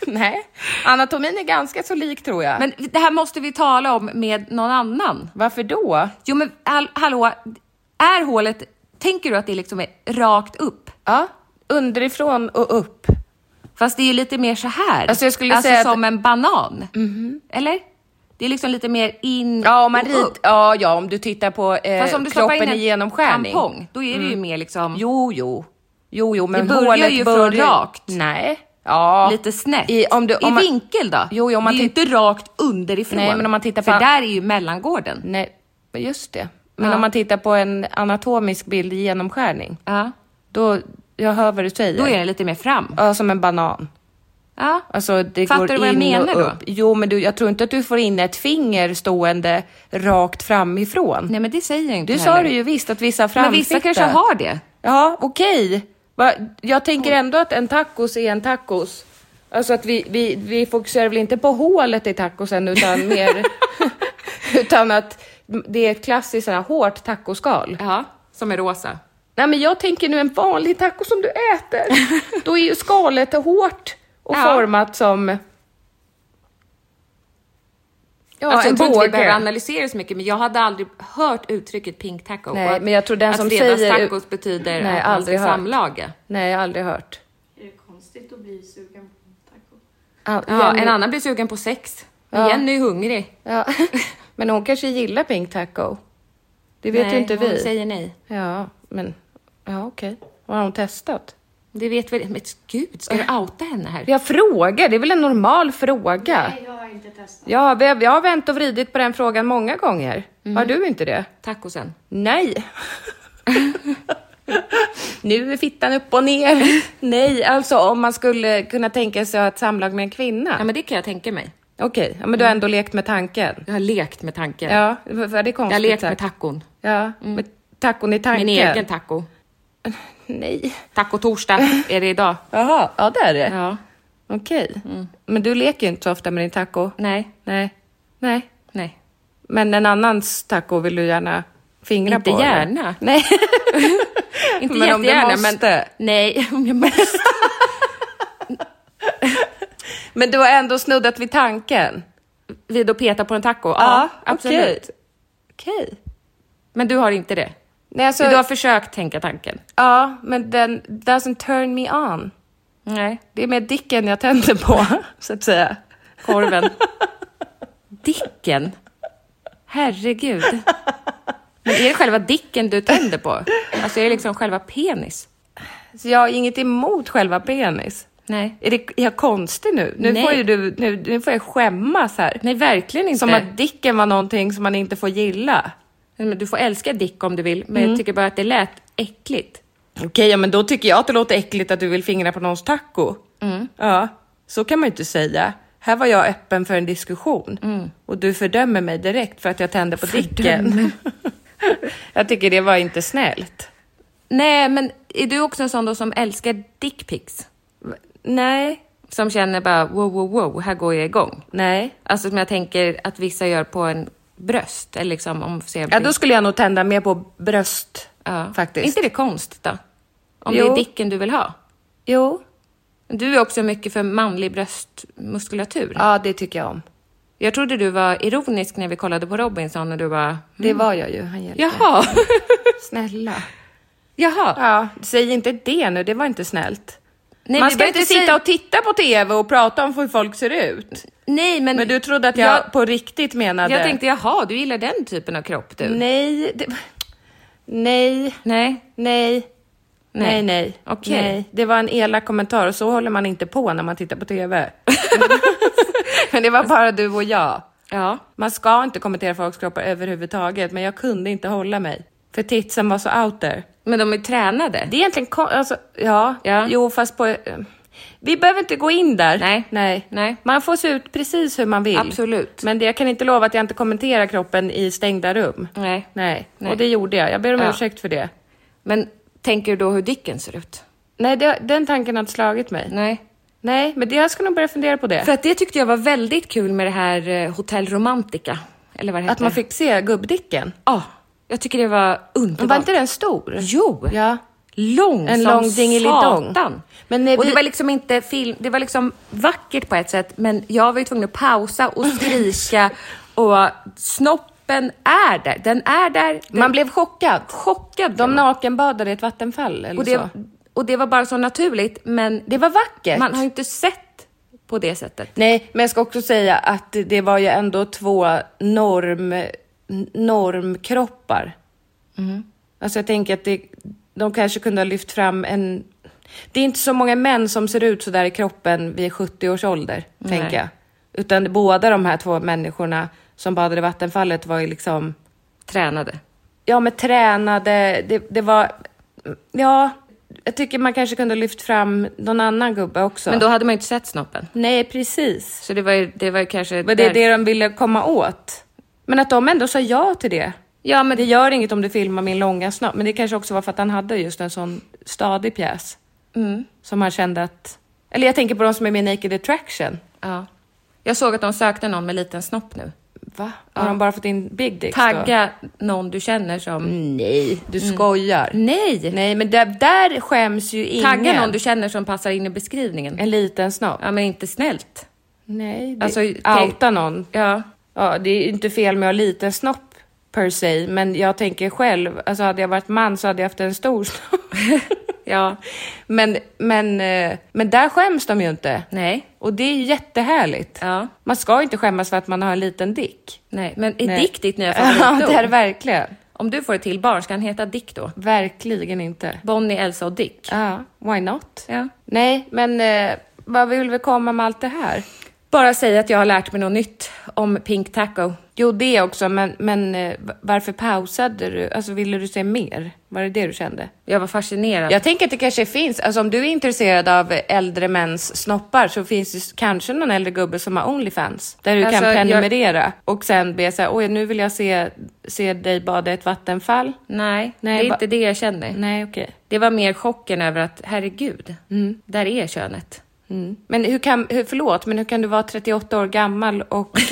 Speaker 3: Nej, anatomin är ganska så lik tror jag.
Speaker 2: Men det här måste vi tala om med någon annan.
Speaker 3: Varför då?
Speaker 2: Jo, men all, hallå, är hålet... Tänker du att det liksom är rakt upp?
Speaker 3: Ja, underifrån och upp.
Speaker 2: Fast det är ju lite mer så här.
Speaker 3: Alltså, jag skulle säga att- Mhm.
Speaker 2: som en banan. Eller? Det är liksom lite mer in
Speaker 3: Ja, om man
Speaker 2: och
Speaker 3: rit,
Speaker 2: upp.
Speaker 3: ja, ja, om du tittar på eh,
Speaker 2: Fast om du stoppar in
Speaker 3: kroppen
Speaker 2: en
Speaker 3: i genomskärning. Mm.
Speaker 2: tampong, då är det ju mer liksom
Speaker 3: Jo, jo. Jo, jo, men
Speaker 2: börjar
Speaker 3: hålet
Speaker 2: ju från rakt.
Speaker 3: Nej. Ja.
Speaker 2: lite snett.
Speaker 3: I, om du, om man,
Speaker 2: vinkel då?
Speaker 3: Jo, jo, om man
Speaker 2: det är ju
Speaker 3: tittar-
Speaker 2: inte rakt underifrån.
Speaker 3: Nej, men om man tittar
Speaker 2: För
Speaker 3: på-
Speaker 2: där är ju mellangården.
Speaker 3: Nej, men just det. Men
Speaker 2: Ja.
Speaker 3: om man tittar på en anatomisk bild i genomskärning,
Speaker 2: Ja.
Speaker 3: då, jag hör vad du säger.
Speaker 2: Då är det lite mer fram.
Speaker 3: Ja, som en banan.
Speaker 2: Ja.
Speaker 3: Alltså det
Speaker 2: Fattar
Speaker 3: går
Speaker 2: du vad jag
Speaker 3: in
Speaker 2: menar
Speaker 3: och
Speaker 2: då?
Speaker 3: upp. Jo, men du, jag tror inte att du får in ett finger stående rakt framifrån.
Speaker 2: Nej, men det säger jag inte
Speaker 3: du sa
Speaker 2: heller.
Speaker 3: det ju visst att vissa
Speaker 2: Men
Speaker 3: framfitta.
Speaker 2: vissa kanske har det.
Speaker 3: Ja, okej. Va- Jag tänker ändå att en tacos är en tacos. Alltså att vi, vi, vi fokuserar väl inte på hålet i tacosen utan mer... utan att det är ett klassiskt sådär, hårt tacoskal.
Speaker 2: Ja, som är rosa.
Speaker 3: Nej men jag tänker nu en vanlig taco som du äter. Då är ju skalet hårt och
Speaker 2: Ja.
Speaker 3: format som... Ja,
Speaker 2: alltså,
Speaker 3: en
Speaker 2: jag tror inte vi
Speaker 3: båge.
Speaker 2: behöver analysera så mycket, men jag hade aldrig hört uttrycket pink taco.
Speaker 3: Nej,
Speaker 2: och att-
Speaker 3: men jag tror den
Speaker 2: att
Speaker 3: som
Speaker 2: fredags
Speaker 3: säger-
Speaker 2: tacos
Speaker 3: Nej,
Speaker 2: betyder att man ska
Speaker 3: aldrig hört.
Speaker 2: samlaga.
Speaker 3: Nej, jag har aldrig hört.
Speaker 6: Är det konstigt att bli sugen på taco?
Speaker 3: Ah,
Speaker 2: Ja, en annan blir sugen på sex. Ja.
Speaker 3: Jenny är hungrig.
Speaker 2: Ja. Men hon kanske gillar pink taco. Det vet
Speaker 3: Nej,
Speaker 2: ju inte vi.
Speaker 3: hon säger nej.
Speaker 2: Ja, men ja, okej. Vad Har hon testat?
Speaker 3: Det vet väl... Men gud, ska du outa henne här?
Speaker 2: Jag frågar, det är väl en normal fråga? Nej, jag har inte testat. Ja, vi har, jag har vänt och vridit på den frågan många gånger.
Speaker 3: Mm.
Speaker 2: Har du inte det?
Speaker 3: Tacosen.
Speaker 2: Nej. nu är fittan upp och ner. Nej, alltså om man skulle kunna tänka sig att ha ett samlag med en kvinna.
Speaker 3: Ja, men det kan jag tänka mig.
Speaker 2: Okej, ja, men du har ändå lekt med tanken.
Speaker 3: Jag har lekt med tanken.
Speaker 2: Ja, för för det är
Speaker 3: jag
Speaker 2: konstigt.
Speaker 3: har lekt med
Speaker 2: sagt.
Speaker 3: tacon.
Speaker 2: Ja, med tacon i tanken.
Speaker 3: Min egen taco.
Speaker 2: Nej.
Speaker 3: Tacotorsdag är det idag.
Speaker 2: Jaha, ja Mm. det är det.
Speaker 3: Ja.
Speaker 2: Okej. Men du leker ju inte så ofta med din taco.
Speaker 3: Nej.
Speaker 2: Nej. Nej.
Speaker 3: Nej.
Speaker 2: Men en annans taco vill du gärna fingra
Speaker 3: Inte
Speaker 2: på? eller?
Speaker 3: gärna.
Speaker 2: Nej.
Speaker 3: Inte
Speaker 2: Men om du
Speaker 3: jättegärna,
Speaker 2: måste.
Speaker 3: men... Nej, om jag måste.
Speaker 2: Men du har ändå snuddat vid tanken?
Speaker 3: Vid att peta på en taco? Ja, absolut.
Speaker 2: Okej. Okej.
Speaker 3: Men du har inte det?
Speaker 2: Nej, alltså,
Speaker 3: Du har försökt tänka tanken?
Speaker 2: Ja, men den doesn't turn me on.
Speaker 3: Nej.
Speaker 2: Det är mer dicken jag tänder på, så att säga.
Speaker 3: Korven. Dicken? Herregud. Men är det själva dicken du tänder på? Alltså är det liksom själva penis?
Speaker 2: Så jag har inget emot själva penis.
Speaker 3: Nej.
Speaker 2: Är, det, är jag konstig nu? Nu
Speaker 3: Nej.
Speaker 2: får, ju du, nu, nu får jag skämmas här.
Speaker 3: Nej, verkligen inte.
Speaker 2: Som att dicken var någonting som man inte får gilla. Mm.
Speaker 3: Men Du får älska dick om du vill, men jag tycker bara att det lät äckligt.
Speaker 2: Okej, ja, men då tycker jag att det låter äckligt att du vill fingra på någons taco.
Speaker 3: Mm.
Speaker 2: Ja, så kan man ju inte säga. Här var jag öppen för en diskussion
Speaker 3: Mm.
Speaker 2: och du fördömer mig direkt för att jag tände på dicken. jag tycker det var inte snällt.
Speaker 3: Nej, men är du också en sån då som älskar dickpics?
Speaker 2: Nej,
Speaker 3: Som känner bara wow, wow, wow, här går jag igång.
Speaker 2: nej.
Speaker 3: Alltså som jag tänker att vissa gör på en bröst eller liksom om ser
Speaker 2: Ja, då skulle jag nog tända mer på bröst
Speaker 3: Ja.
Speaker 2: faktiskt.
Speaker 3: Är inte det konst då? Om det
Speaker 2: Jo.
Speaker 3: är dicken du vill ha.
Speaker 2: Jo.
Speaker 3: Du är också mycket för manlig bröstmuskulatur.
Speaker 2: Ja, det tycker jag om.
Speaker 3: Jag trodde du var ironisk när vi kollade på Robinson och du bara...
Speaker 2: Det var jag ju, han hjälpte.
Speaker 3: Mm. Jaha!
Speaker 2: Snälla.
Speaker 3: Jaha!
Speaker 2: Ja, säg inte det nu, det var inte snällt.
Speaker 3: Nej,
Speaker 2: Man
Speaker 3: vi
Speaker 2: ska
Speaker 3: behöver
Speaker 2: inte
Speaker 3: inte säga-
Speaker 2: sitta och titta på TV och prata om hur folk ser ut.
Speaker 3: Nej, men...
Speaker 2: Men du trodde att jag, på riktigt
Speaker 3: Jag,
Speaker 2: menade...
Speaker 3: jag tänkte, jaha, du gillar den typen av kropp du?
Speaker 2: Nej, det... Nej,
Speaker 3: Nej.
Speaker 2: nej, nej, nej.
Speaker 3: Okej.
Speaker 2: Nej. Det var en elak kommentar och så håller man inte på när man tittar på TV. Men det var bara du och jag.
Speaker 3: Ja.
Speaker 2: Man ska inte kommentera folks kroppar överhuvudtaget, men jag kunde inte hålla mig. För titsen var så out there.
Speaker 3: Men de är tränade.
Speaker 2: Det är egentligen kon- alltså, ja,
Speaker 3: Ja.
Speaker 2: jo fast på... eh, Vi behöver inte gå in där.
Speaker 3: Nej.
Speaker 2: Nej.
Speaker 3: Nej.
Speaker 2: Man får se ut precis hur man vill.
Speaker 3: Absolut.
Speaker 2: Men det, jag kan inte lova att jag inte kommenterar kroppen i stängda rum.
Speaker 3: Nej.
Speaker 2: Nej.
Speaker 3: Nej.
Speaker 2: Och det gjorde jag. Jag ber om
Speaker 3: Ja.
Speaker 2: ursäkt för det.
Speaker 3: Men tänker du då hur dicken ser ut?
Speaker 2: Nej, det, den tanken har inte slagit mig.
Speaker 3: Nej.
Speaker 2: Nej, men det, jag ska nog börja fundera på det.
Speaker 3: För att det tyckte jag var väldigt kul med det här eh, Hotel Romantica. Eller vad det
Speaker 2: att
Speaker 3: heter.
Speaker 2: man fick se gubbdicken.
Speaker 3: Ja. jag tycker det var
Speaker 2: Men
Speaker 3: underbart.
Speaker 2: var inte den stor?
Speaker 3: Jo!
Speaker 2: Ja.
Speaker 3: Lång
Speaker 2: En
Speaker 3: som
Speaker 2: lång dingelidong.
Speaker 3: satan.
Speaker 2: Men när
Speaker 3: och
Speaker 2: vi-
Speaker 3: det var liksom inte film, det var liksom vackert på ett sätt, men jag var ju tvungen att pausa och skrika och snoppen är där. Den är där. Den...
Speaker 2: Man blev chockad.
Speaker 3: chockad.
Speaker 2: De nakenbadade i ett vattenfall eller
Speaker 3: och,
Speaker 2: så.
Speaker 3: det, och det var bara så naturligt, men
Speaker 2: Det var vackert.
Speaker 3: man har ju inte sett på det sättet.
Speaker 2: Nej, men jag ska också säga att det var ju ändå två norm, normkroppar.
Speaker 3: Mm.
Speaker 2: Alltså jag tänker att det, de kanske kunde ha lyft fram en... Det är inte så många män som ser ut så där i kroppen vid 70 års ålder, tänker jag. Utan båda de här två människorna som badade i vattenfallet var ju liksom...
Speaker 3: Tränade.
Speaker 2: Ja, men tränade, det, det var... Ja, jag tycker man kanske kunde ha lyft fram någon annan gubbe också.
Speaker 3: Men då hade man ju inte sett snoppen.
Speaker 2: Nej, precis.
Speaker 3: Så det var ju, det var ju kanske...
Speaker 2: Men det
Speaker 3: där-
Speaker 2: är det de ville komma åt. Men att de ändå sa ja till det. Ja, men det gör inget om du filmar min långa snopp. Men det kanske också var för att han hade just en sån stadig pjäs.
Speaker 3: Mm.
Speaker 2: Som han kände att... Eller jag tänker på de som är med i Naked Attraction.
Speaker 3: Ja. Jag såg att de sökte någon med liten snopp nu.
Speaker 2: Va? Har de bara fått in Big Dicks då?
Speaker 3: Tagga någon du känner som...
Speaker 2: Nej, du skojar.
Speaker 3: Nej!
Speaker 2: Nej, men där, där skäms ju ingen.
Speaker 3: Tagga någon du känner som passar in i beskrivningen.
Speaker 2: En liten snopp.
Speaker 3: Ja, men inte snällt.
Speaker 2: Nej, det...
Speaker 3: Alltså, tänk-
Speaker 2: outa någon.
Speaker 3: Ja.
Speaker 2: Ja, det är inte fel med att ha liten snopp per se, men jag tänker själv, alltså hade jag varit man så hade jag haft en stor snopp. Ja, men, men, eh, men där skäms de ju inte. Nej. Och det är ju jättehärligt. Ja. Man ska ju inte skämmas för att man har en liten dick.
Speaker 3: Nej, men är
Speaker 2: Nej.
Speaker 3: Dick ditt nya
Speaker 2: Ja,
Speaker 3: favoritord?
Speaker 2: det är det verkligen.
Speaker 3: Om du får ett till barn, ska han heta Dick då?
Speaker 2: Verkligen inte.
Speaker 3: Bonnie, Elsa och Dick?
Speaker 2: Ja, why not?
Speaker 3: Ja.
Speaker 2: Nej, men eh, vad vill vi komma med allt det här?
Speaker 3: Bara säga att jag har lärt mig något nytt om Pink Taco.
Speaker 2: Jo, det också, men, men eh, varför pausade du? Alltså, ville du se mer? Var det det du kände?
Speaker 3: Jag var fascinerad.
Speaker 2: Jag tänker att det kanske finns, alltså om du är intresserad av äldre mäns snoppar så finns det s- kanske någon äldre gubbe som har Onlyfans där du
Speaker 3: Alltså,
Speaker 2: kan
Speaker 3: jag-
Speaker 2: prenumerera och sen be så här, oj nu vill jag se, se dig bada i ett vattenfall.
Speaker 3: Nej,
Speaker 2: Nej,
Speaker 3: det är
Speaker 2: va-
Speaker 3: inte det jag känner.
Speaker 2: Nej, okej.
Speaker 3: Det var mer chocken över att, herregud, där är könet.
Speaker 2: Mm. Men hur kan, hur, förlåt, men hur kan du vara 38 år gammal och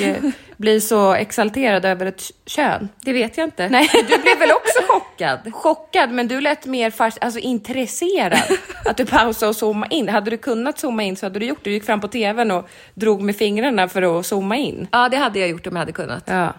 Speaker 2: eh, bli så exalterad över ett kön?
Speaker 3: Det vet jag inte.
Speaker 2: Nej, du blev väl också
Speaker 3: chockad?
Speaker 2: Chockad, men du lät mer fast, alltså intresserad. Att du pausade och zoomade in. Hade du kunnat zooma in så hade du gjort det. Du gick fram på tvn och drog med fingrarna för att zooma in.
Speaker 3: Ja, det hade jag gjort om jag hade kunnat.
Speaker 2: Ja.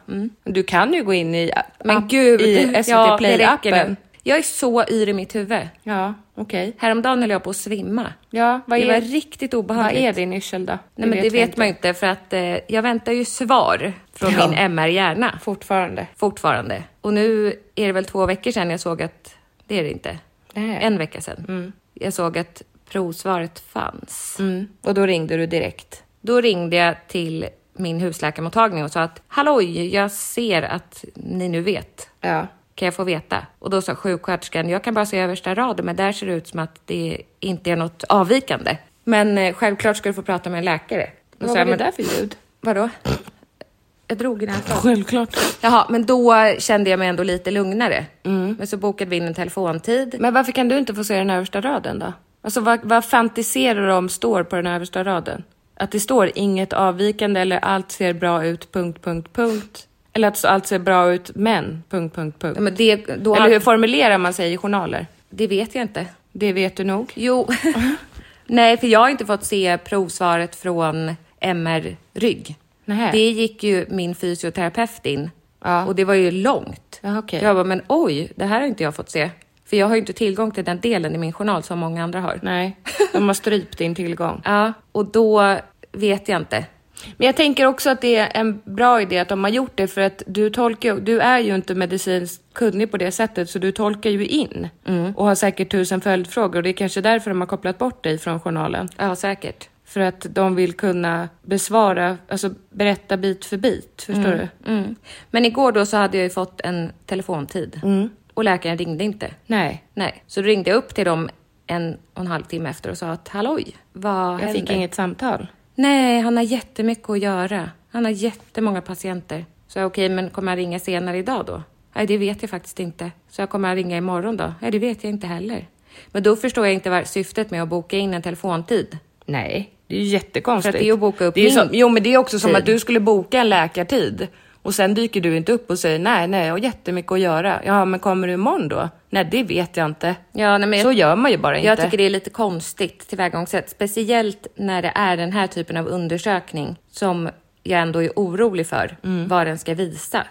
Speaker 2: Du kan ju gå in i,
Speaker 3: Men
Speaker 2: app,
Speaker 3: gud,
Speaker 2: i SVT
Speaker 3: ja, det räcker
Speaker 2: Play-appen.
Speaker 3: nu. Jag är så yr i mitt huvud.
Speaker 2: Ja, okej.
Speaker 3: Häromdagen höll jag på att svimma.
Speaker 2: Ja, vad
Speaker 3: det
Speaker 2: är-
Speaker 3: var riktigt
Speaker 2: Vad
Speaker 3: obehagligt.
Speaker 2: är din yrsel då?
Speaker 3: Nej, men det vet man ju inte för att eh, jag väntar ju svar från min MR-hjärna
Speaker 2: Fortfarande.
Speaker 3: fortfarande. Och nu är det väl två veckor sedan jag såg att det är det inte.
Speaker 2: Nej.
Speaker 3: En vecka sedan. Jag såg att provsvaret fanns.
Speaker 2: Mm. Och då ringde du direkt.
Speaker 3: Då ringde jag till min husläkarmottagning och sa att halloj, jag ser att ni nu vet.
Speaker 2: Ja.
Speaker 3: Kan jag få veta? Och då sa sjuksköterskan, jag kan bara se översta raden, men där ser det ut som att det inte är något avvikande. Men eh, självklart ska du få prata med en läkare. Då
Speaker 2: Vad
Speaker 3: sa
Speaker 2: var
Speaker 3: jag,
Speaker 2: det
Speaker 3: men-
Speaker 2: där för ljud?
Speaker 3: Vadå? Jag drog i näsan.
Speaker 2: Självklart.
Speaker 3: Jaha, men då kände jag mig ändå lite lugnare. Men så bokade vi in en telefontid.
Speaker 2: Mm. Men varför kan du inte få se den översta raden då? Alltså vad, vad fantiserar de står på den översta raden? Att det står inget avvikande eller allt ser bra ut, punkt, punkt, punkt. Eller att allt ser bra ut, men, punkt, punkt, punkt.
Speaker 3: Ja, men det, då
Speaker 2: eller hur formulerar man sig i journaler?
Speaker 3: Det vet jag inte.
Speaker 2: Det vet du nog.
Speaker 3: Jo. Nej, för jag har inte fått se provsvaret från MR rygg.
Speaker 2: Nähä.
Speaker 3: Det gick ju min fysioterapeut in och det var ju långt.
Speaker 2: Ja, okej.
Speaker 3: Jag bara, men oj, det här har inte jag fått se. För jag har ju inte tillgång till den delen i min journal som många andra har.
Speaker 2: Nej, de har strypt din tillgång.
Speaker 3: Ja, och då vet jag inte.
Speaker 2: Men jag tänker också att det är en bra idé att de har gjort det för att du tolkar ju- du är ju inte medicinskt kunnig på det sättet så du tolkar ju in
Speaker 3: Mm.
Speaker 2: och har säkert tusen följdfrågor och det är kanske därför de har kopplat bort dig från journalen.
Speaker 3: Ja, säkert.
Speaker 2: För att de vill kunna besvara, alltså berätta bit för bit, förstår du?
Speaker 3: Mm. Men igår då så hade jag ju fått en telefontid och läkaren ringde inte.
Speaker 2: Mm. Nej,
Speaker 3: Nej, så då ringde jag upp till dem en och en halv timme efter och sa att halloj, vad
Speaker 2: jag
Speaker 3: händer?
Speaker 2: fick inget samtal.
Speaker 3: Nej, han har jättemycket att göra. Han har jättemånga patienter. Så jag, okej, men kommer han ringa senare idag då? Nej, det vet jag faktiskt inte. Så jag kommer han ringa imorgon då? Nej, det vet jag inte heller. Men då förstår jag inte vad syftet med att boka in en telefontid.
Speaker 2: Nej, det är ju jättekonstigt.
Speaker 3: För att det är ju att boka upp
Speaker 2: det är ju
Speaker 3: min
Speaker 2: som, Jo, men det är också som
Speaker 3: tid.
Speaker 2: att du skulle boka en läkartid och sen dyker du inte upp och säger nej, nej, jag har jättemycket att göra. Ja, men kommer du imorgon då? Nej, det vet jag inte.
Speaker 3: Ja, nej, men
Speaker 2: Så gör man ju bara
Speaker 3: Jag
Speaker 2: inte.
Speaker 3: tycker det är lite konstigt tillvägagångssätt, speciellt när det är den här typen av undersökning som jag ändå är orolig för
Speaker 2: Mm.
Speaker 3: vad den ska visa.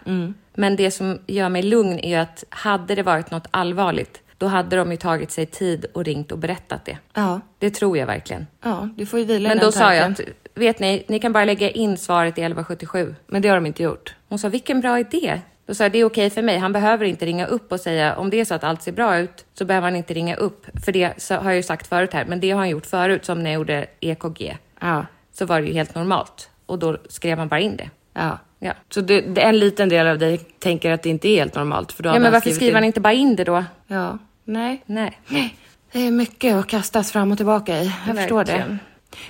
Speaker 3: Men det som gör mig lugn är ju att hade det varit något allvarligt, då hade de ju tagit sig tid och ringt och berättat det.
Speaker 2: Ja.
Speaker 3: Det tror jag verkligen.
Speaker 2: Ja, du får ju vila i
Speaker 3: Men
Speaker 2: den
Speaker 3: då sa jag
Speaker 2: tanken.
Speaker 3: att, vet ni, ni kan bara lägga in svaret i 1177.
Speaker 2: Men det har de inte gjort.
Speaker 3: Hon sa, vilken bra idé. Då sa jag, det är okej för mig. Han behöver inte ringa upp och säga, om det är så att allt ser bra ut så behöver han inte ringa upp. För det så har jag ju sagt förut här, men det har han gjort förut som när jag gjorde EKG.
Speaker 2: Ja.
Speaker 3: Så var det ju helt normalt och då skrev han bara in det.
Speaker 2: Ja.
Speaker 3: Ja.
Speaker 2: Så det, det, en liten del av dig tänker att det inte är helt normalt. För då
Speaker 3: Ja,
Speaker 2: hade
Speaker 3: men
Speaker 2: han
Speaker 3: varför
Speaker 2: skrivit
Speaker 3: skriver
Speaker 2: in-
Speaker 3: han inte bara in det då?
Speaker 2: Ja, nej.
Speaker 3: Nej.
Speaker 2: Det är mycket att kastas fram och tillbaka i. Jag förstår det.
Speaker 3: Verkligen.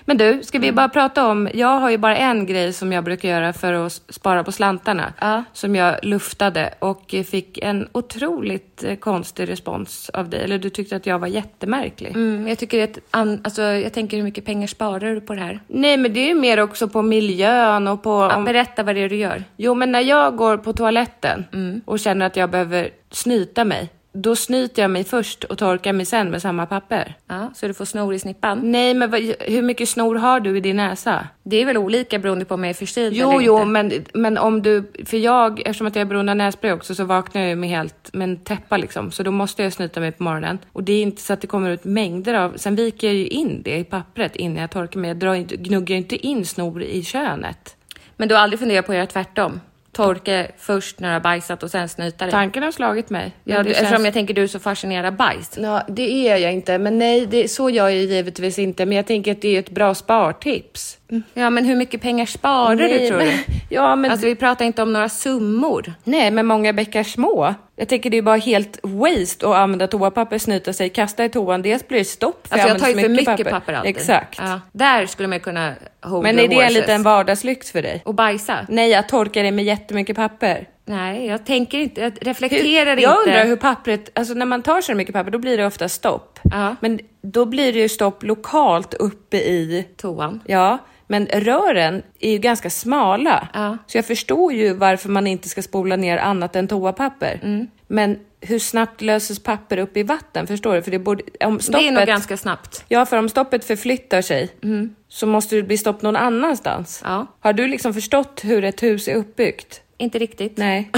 Speaker 2: Men du, ska vi bara prata om... Jag har ju bara en grej som jag brukar göra för att s- spara på slantarna.
Speaker 3: Ja.
Speaker 2: Som jag luftade och eh, fick en otroligt eh, konstig respons av dig. Eller du tyckte att jag var jättemärklig.
Speaker 3: Mm, jag tycker att, an- alltså, jag tänker hur mycket pengar sparar du på det här?
Speaker 2: Nej, men det är ju mer också på miljön och på...
Speaker 3: Ja,
Speaker 2: om-
Speaker 3: berätta vad det är du gör. Mm.
Speaker 2: Jo, men när jag går på toaletten och känner att jag behöver snyta mig, Då snyter jag mig först och torkar mig sen med samma papper.
Speaker 3: Så du får snor i snippan?
Speaker 2: Nej, men vad, hur mycket snor har du i din näsa?
Speaker 3: Det är väl olika beroende på om jag är förkyld
Speaker 2: Jo,
Speaker 3: eller
Speaker 2: jo,
Speaker 3: inte.
Speaker 2: men, men om du... För jag, eftersom att jag är beroende av nässpray också, så vaknar jag ju med helt med en täppa liksom. Så då måste jag snyta mig på morgonen. Och det är inte så att det kommer ut mängder av... Sen viker jag ju in det i pappret innan jag torkar mig. Jag drar inte, gnuggar ju inte in snor i könet.
Speaker 3: Men du har aldrig funderat på att göra tvärtom? Torka först när du har bajsat och sen snyta dig?
Speaker 2: Tanken har slagit mig.
Speaker 3: Ja,
Speaker 2: Men
Speaker 3: du,
Speaker 2: det
Speaker 3: Eftersom
Speaker 2: känns-
Speaker 3: jag tänker du är så fascinerad av bajs.
Speaker 2: Ja, det är jag inte. Men nej, det, så gör jag ju givetvis inte. Men jag tänker att det är ett bra spartips.
Speaker 3: Ja, men hur mycket pengar sparar du
Speaker 2: Nej,
Speaker 3: tror
Speaker 2: men-
Speaker 3: du?
Speaker 2: Ja, men-
Speaker 3: Alltså, vi pratar inte om några summor. Alltså,
Speaker 2: Nej, men många bäckar små. Jag tänker det är bara helt waste att använda toapapper, snyta sig, kasta i toan. Dels blir det stopp för
Speaker 3: Alltså, jag tar ju
Speaker 2: använder
Speaker 3: för mycket papper, alltid.
Speaker 2: Exakt.
Speaker 3: Ja. Där skulle man ju kunna hold
Speaker 2: Men
Speaker 3: your
Speaker 2: är det en
Speaker 3: horses.
Speaker 2: liten vardagslyx för dig?
Speaker 3: Och bajsa?
Speaker 2: Nej, att torka det med jättemycket papper.
Speaker 3: Nej, jag tänker inte, jag
Speaker 2: Hur,
Speaker 3: reflekterar
Speaker 2: jag
Speaker 3: inte.
Speaker 2: undrar hur pappret, alltså när man tar så mycket papper då blir det ofta stopp.
Speaker 3: Ja.
Speaker 2: Men då blir det ju stopp lokalt uppe i
Speaker 3: Toan.
Speaker 2: Ja, men rören är ju ganska smala.
Speaker 3: Ja.
Speaker 2: Så jag förstår ju varför man inte ska spola ner annat än toapapper.
Speaker 3: Mm.
Speaker 2: Men hur snabbt löses papper upp i vatten? Förstår du? För det, borde, om stoppet,
Speaker 3: Det är nog ganska snabbt.
Speaker 2: Ja, för om stoppet förflyttar sig så måste det bli stopp någon annanstans.
Speaker 3: Ja.
Speaker 2: Har du liksom förstått hur ett hus är uppbyggt?
Speaker 3: Inte riktigt.
Speaker 2: Nej.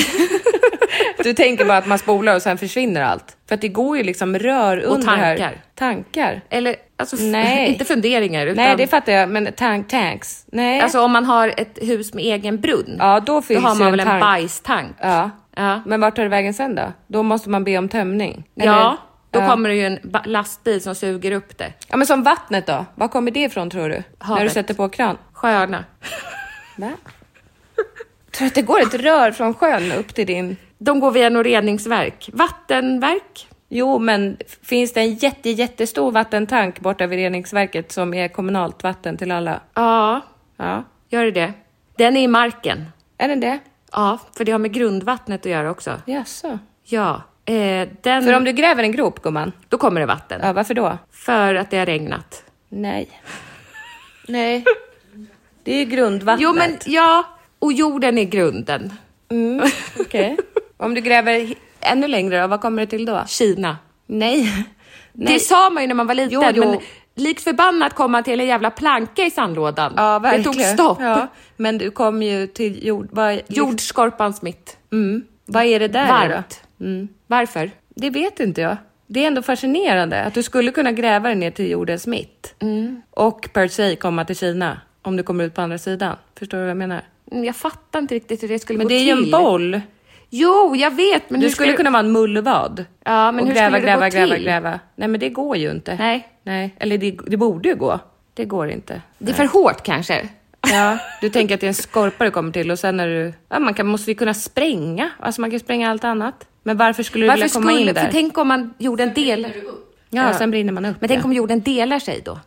Speaker 2: du tänker bara att man spolar och sen försvinner allt. För att det går ju liksom rör
Speaker 3: Och
Speaker 2: under här.
Speaker 3: tankar.
Speaker 2: Tankar.
Speaker 3: Eller, alltså, f-
Speaker 2: Nej.
Speaker 3: inte funderingar. Utan,
Speaker 2: Nej, det fattar jag. Men tank, tanks. Nej.
Speaker 3: Alltså om man har ett hus med egen brunn.
Speaker 2: Ja, då finns
Speaker 3: har
Speaker 2: ju
Speaker 3: man väl en
Speaker 2: tank.
Speaker 3: bajstank.
Speaker 2: Ja.
Speaker 3: Ja.
Speaker 2: Men vart tar det vägen sen då? Då måste man be om tömning?
Speaker 3: Ja, då
Speaker 2: Ja.
Speaker 3: kommer det ju en ba- lastbil som suger upp det.
Speaker 2: Ja, men som vattnet då? Var kommer det ifrån tror du? När du
Speaker 3: Havet.
Speaker 2: sätter på kran?
Speaker 3: Sjöarna.
Speaker 2: Va? Tror du att det går ett rör från sjön upp till din...
Speaker 3: De går via något reningsverk. Vattenverk?
Speaker 2: Jo, men finns det en jätte, jättestor vattentank borta vid reningsverket som är kommunalt vatten till alla?
Speaker 3: Ja,
Speaker 2: Ja.
Speaker 3: gör det det? Den är i marken.
Speaker 2: Är det det?
Speaker 3: Ja, för det har med grundvattnet att göra också.
Speaker 2: Jaså?
Speaker 3: Ja, eh, den...
Speaker 2: För om du gräver en grop, gumman,
Speaker 3: Då kommer det vatten.
Speaker 2: ja, varför då?
Speaker 3: För att det har regnat.
Speaker 2: Nej. Nej. Det är ju grundvattnet.
Speaker 3: Jo, men ja. Och jorden är grunden.
Speaker 2: Mm, Okej. Om du gräver hi- ännu längre då, vad kommer det till då?
Speaker 3: Kina.
Speaker 2: Nej. Nej.
Speaker 3: Det sa man ju när man var liten,
Speaker 2: Jo, jo.
Speaker 3: men likt förbannat kom man till en jävla planka i sandlådan.
Speaker 2: ja,
Speaker 3: det
Speaker 2: verkligen.
Speaker 3: tog stopp.
Speaker 2: Ja, men du kom ju till jord... Vad,
Speaker 3: Jordskorpans mitt.
Speaker 2: Mm. Vad är det där i
Speaker 3: Varmt.
Speaker 2: då? Mm.
Speaker 3: Varför?
Speaker 2: Det vet inte jag. Det är ändå fascinerande att du skulle kunna gräva dig ner till jordens mitt.
Speaker 3: Mm.
Speaker 2: Och per se komma till Kina, om du kommer ut på andra sidan. Förstår du vad jag menar?
Speaker 3: Mm, Jag fattar inte riktigt hur det skulle
Speaker 2: Men
Speaker 3: gå
Speaker 2: det är
Speaker 3: till.
Speaker 2: ju en boll.
Speaker 3: Jo, jag vet, men
Speaker 2: du
Speaker 3: hur
Speaker 2: skulle kunna vara en mullvad.
Speaker 3: Ja, men
Speaker 2: och
Speaker 3: hur
Speaker 2: gräva,
Speaker 3: skulle det
Speaker 2: gräva,
Speaker 3: gå
Speaker 2: gräva,
Speaker 3: till?
Speaker 2: gräva. Nej, men det går ju inte.
Speaker 3: Nej.
Speaker 2: Nej. Eller det, det borde ju gå. Det går inte.
Speaker 3: Det är för hårt kanske.
Speaker 2: Ja, du tänker att det är en skorpa du kommer till och sen är du... Ja, man kan, måste ju kunna spränga. Alltså man kan ju spränga allt annat. Men varför skulle du
Speaker 3: Varför
Speaker 2: vilja komma
Speaker 3: skulle...
Speaker 2: in där?
Speaker 3: För tänk om man gjorde en del...
Speaker 2: ja, sen brinner man upp.
Speaker 3: Men tänk
Speaker 2: ja. Mm-hmm.
Speaker 3: om jorden delar sig då?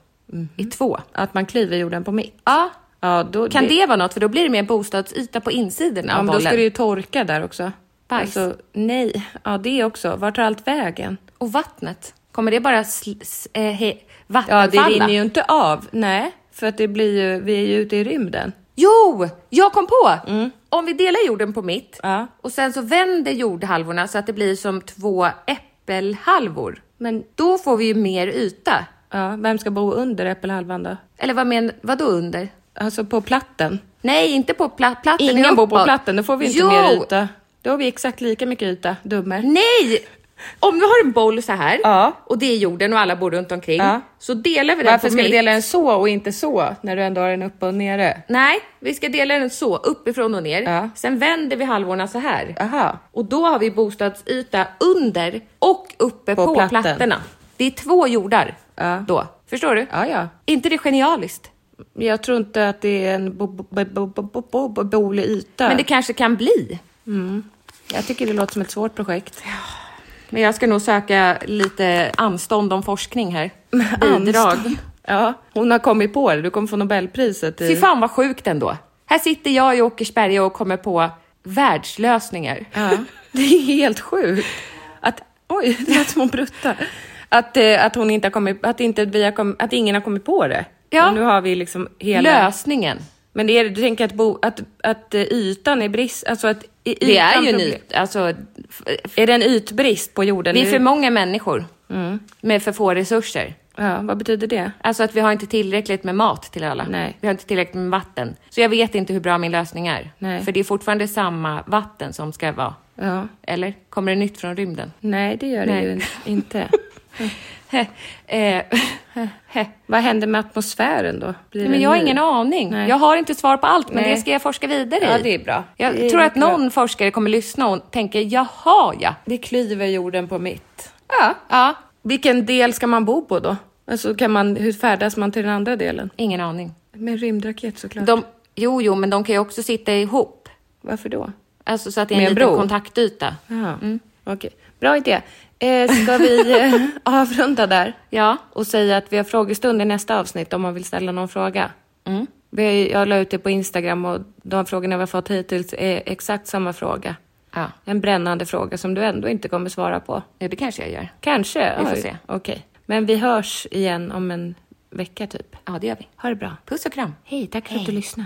Speaker 3: I två?
Speaker 2: Att man klyver jorden på mitt.
Speaker 3: Ja.
Speaker 2: Ja, då...
Speaker 3: Kan det vara något? För då blir det mer en bostadsyta på insidan
Speaker 2: Ja,
Speaker 3: av
Speaker 2: men då
Speaker 3: bollen.
Speaker 2: ska det ju torka där också. Alltså,
Speaker 3: Bajs.
Speaker 2: nej. Ja, det också. Vart tar allt vägen?
Speaker 3: Och vattnet? Kommer det bara sl- s- eh, he-
Speaker 2: Ja, det
Speaker 3: vattenfalla?
Speaker 2: rinner ju inte av. Nej, för att det blir ju... Vi är ju ute i rymden.
Speaker 3: Jo! Jag kom på! Om vi delar jorden på mitt
Speaker 2: Mm. Ja.
Speaker 3: och sen så vänder jordhalvorna så att det blir som två äppelhalvor. Men då får vi ju mer yta.
Speaker 2: Ja, vem ska bo under äppelhalvan då?
Speaker 3: Eller vad men, vad då under?
Speaker 2: Alltså på platten.
Speaker 3: Nej, inte på pla- platten.
Speaker 2: Ingen bor på
Speaker 3: uppåt.
Speaker 2: platten, då får vi inte
Speaker 3: jo!
Speaker 2: mer yta. Då har vi exakt lika mycket yta, dummer.
Speaker 3: Nej! Om vi har en boll så här
Speaker 2: Ja.
Speaker 3: och det är jorden och alla bor runt omkring
Speaker 2: Ja.
Speaker 3: så delar vi den
Speaker 2: Varför
Speaker 3: på
Speaker 2: ska vi
Speaker 3: mitt.
Speaker 2: dela den så och inte så när du ändå har den uppe och nere?
Speaker 3: Nej, vi ska dela den så, uppifrån och ner.
Speaker 2: Ja.
Speaker 3: Sen vänder vi halvorna så här.
Speaker 2: Aha.
Speaker 3: Och då har vi bostadsyta under och uppe
Speaker 2: På
Speaker 3: på,
Speaker 2: platten.
Speaker 3: plattorna. Det är två jordar
Speaker 2: Ja.
Speaker 3: då. Förstår du?
Speaker 2: Ja, ja.
Speaker 3: inte det genialiskt?
Speaker 2: Jag tror inte att det är en bo- bo- bo- bo- bo- bo- bo- bolig yta.
Speaker 3: Men det kanske kan bli.
Speaker 2: Jag tycker det låter som ett svårt projekt.
Speaker 3: Men jag ska nog söka lite anstånd om forskning här. Bidrag.
Speaker 2: Ja, hon har kommit på det. Du kommer få Nobelpriset
Speaker 3: Fy
Speaker 2: i...
Speaker 3: fan vad sjukt ändå. Här sitter jag i Åkersberga och kommer på världslösningar.
Speaker 2: Ja. Det är helt sjukt. Att, oj, det lät som hon bruttade. Att, eh, att, hon inte har kommit, att, inte vi har kom, att ingen har kommit på det.
Speaker 3: Ja.
Speaker 2: Och Nu har vi liksom hela...
Speaker 3: Lösningen.
Speaker 2: Men är det, du tänker att, bo, att, att eh, ytan är brist? Alltså att i- ytan
Speaker 3: Det är ju en
Speaker 2: problem-
Speaker 3: yt, alltså,
Speaker 2: Är det en ytbrist på jorden?
Speaker 3: vi är
Speaker 2: nu?
Speaker 3: för många människor
Speaker 2: Mm.
Speaker 3: med för få resurser.
Speaker 2: Ja, vad betyder det?
Speaker 3: Alltså att vi har inte tillräckligt med mat till alla.
Speaker 2: Nej.
Speaker 3: Vi har inte tillräckligt med vatten. Så jag vet inte hur bra min lösning är.
Speaker 2: Nej.
Speaker 3: För det är fortfarande samma vatten som ska vara.
Speaker 2: Ja.
Speaker 3: Eller? Kommer det nytt från rymden?
Speaker 2: Nej, det gör det
Speaker 3: Nej.
Speaker 2: ju in- inte.
Speaker 3: Eh,
Speaker 2: Vad händer med atmosfären då? Blir
Speaker 3: Nej, men
Speaker 2: den
Speaker 3: jag har
Speaker 2: ny?
Speaker 3: ingen aning.
Speaker 2: Nej.
Speaker 3: Jag har inte svar på allt, men
Speaker 2: Nej.
Speaker 3: det ska jag forska vidare i.
Speaker 2: Ja, det är bra.
Speaker 3: Jag
Speaker 2: Det är
Speaker 3: tror att
Speaker 2: bra.
Speaker 3: någon forskare kommer lyssna och tänker, jaha ja.
Speaker 2: Det klyver jorden på mitt. Ja. Vilken del ska man bo på då? Alltså, kan man, hur färdas man till den andra delen?
Speaker 3: Ingen aning.
Speaker 2: Med en rymdraket såklart.
Speaker 3: De, jo, jo, men de kan ju också sitta ihop.
Speaker 2: Varför då?
Speaker 3: Alltså så att det är
Speaker 2: Med
Speaker 3: en
Speaker 2: en
Speaker 3: liten
Speaker 2: bro?
Speaker 3: kontaktyta.
Speaker 2: Ja. Mm. Okej, bra idé. Eh, ska vi eh, avrunda där?
Speaker 3: Ja.
Speaker 2: Och säga att vi har frågestund i nästa avsnitt om man vill ställa någon fråga.
Speaker 3: Mm.
Speaker 2: Vi, jag la ut det på Instagram och de frågorna vi har fått hittills är exakt samma fråga.
Speaker 3: Ja.
Speaker 2: En brännande fråga som du ändå inte kommer svara på.
Speaker 3: ja, det kanske jag gör.
Speaker 2: Kanske.
Speaker 3: Vi får
Speaker 2: Oj,
Speaker 3: se.
Speaker 2: Okej. Men vi hörs igen om en vecka typ.
Speaker 3: Ja, det gör vi.
Speaker 2: Ha det bra.
Speaker 3: Puss och kram.
Speaker 2: Hej, tack för att du lyssnar.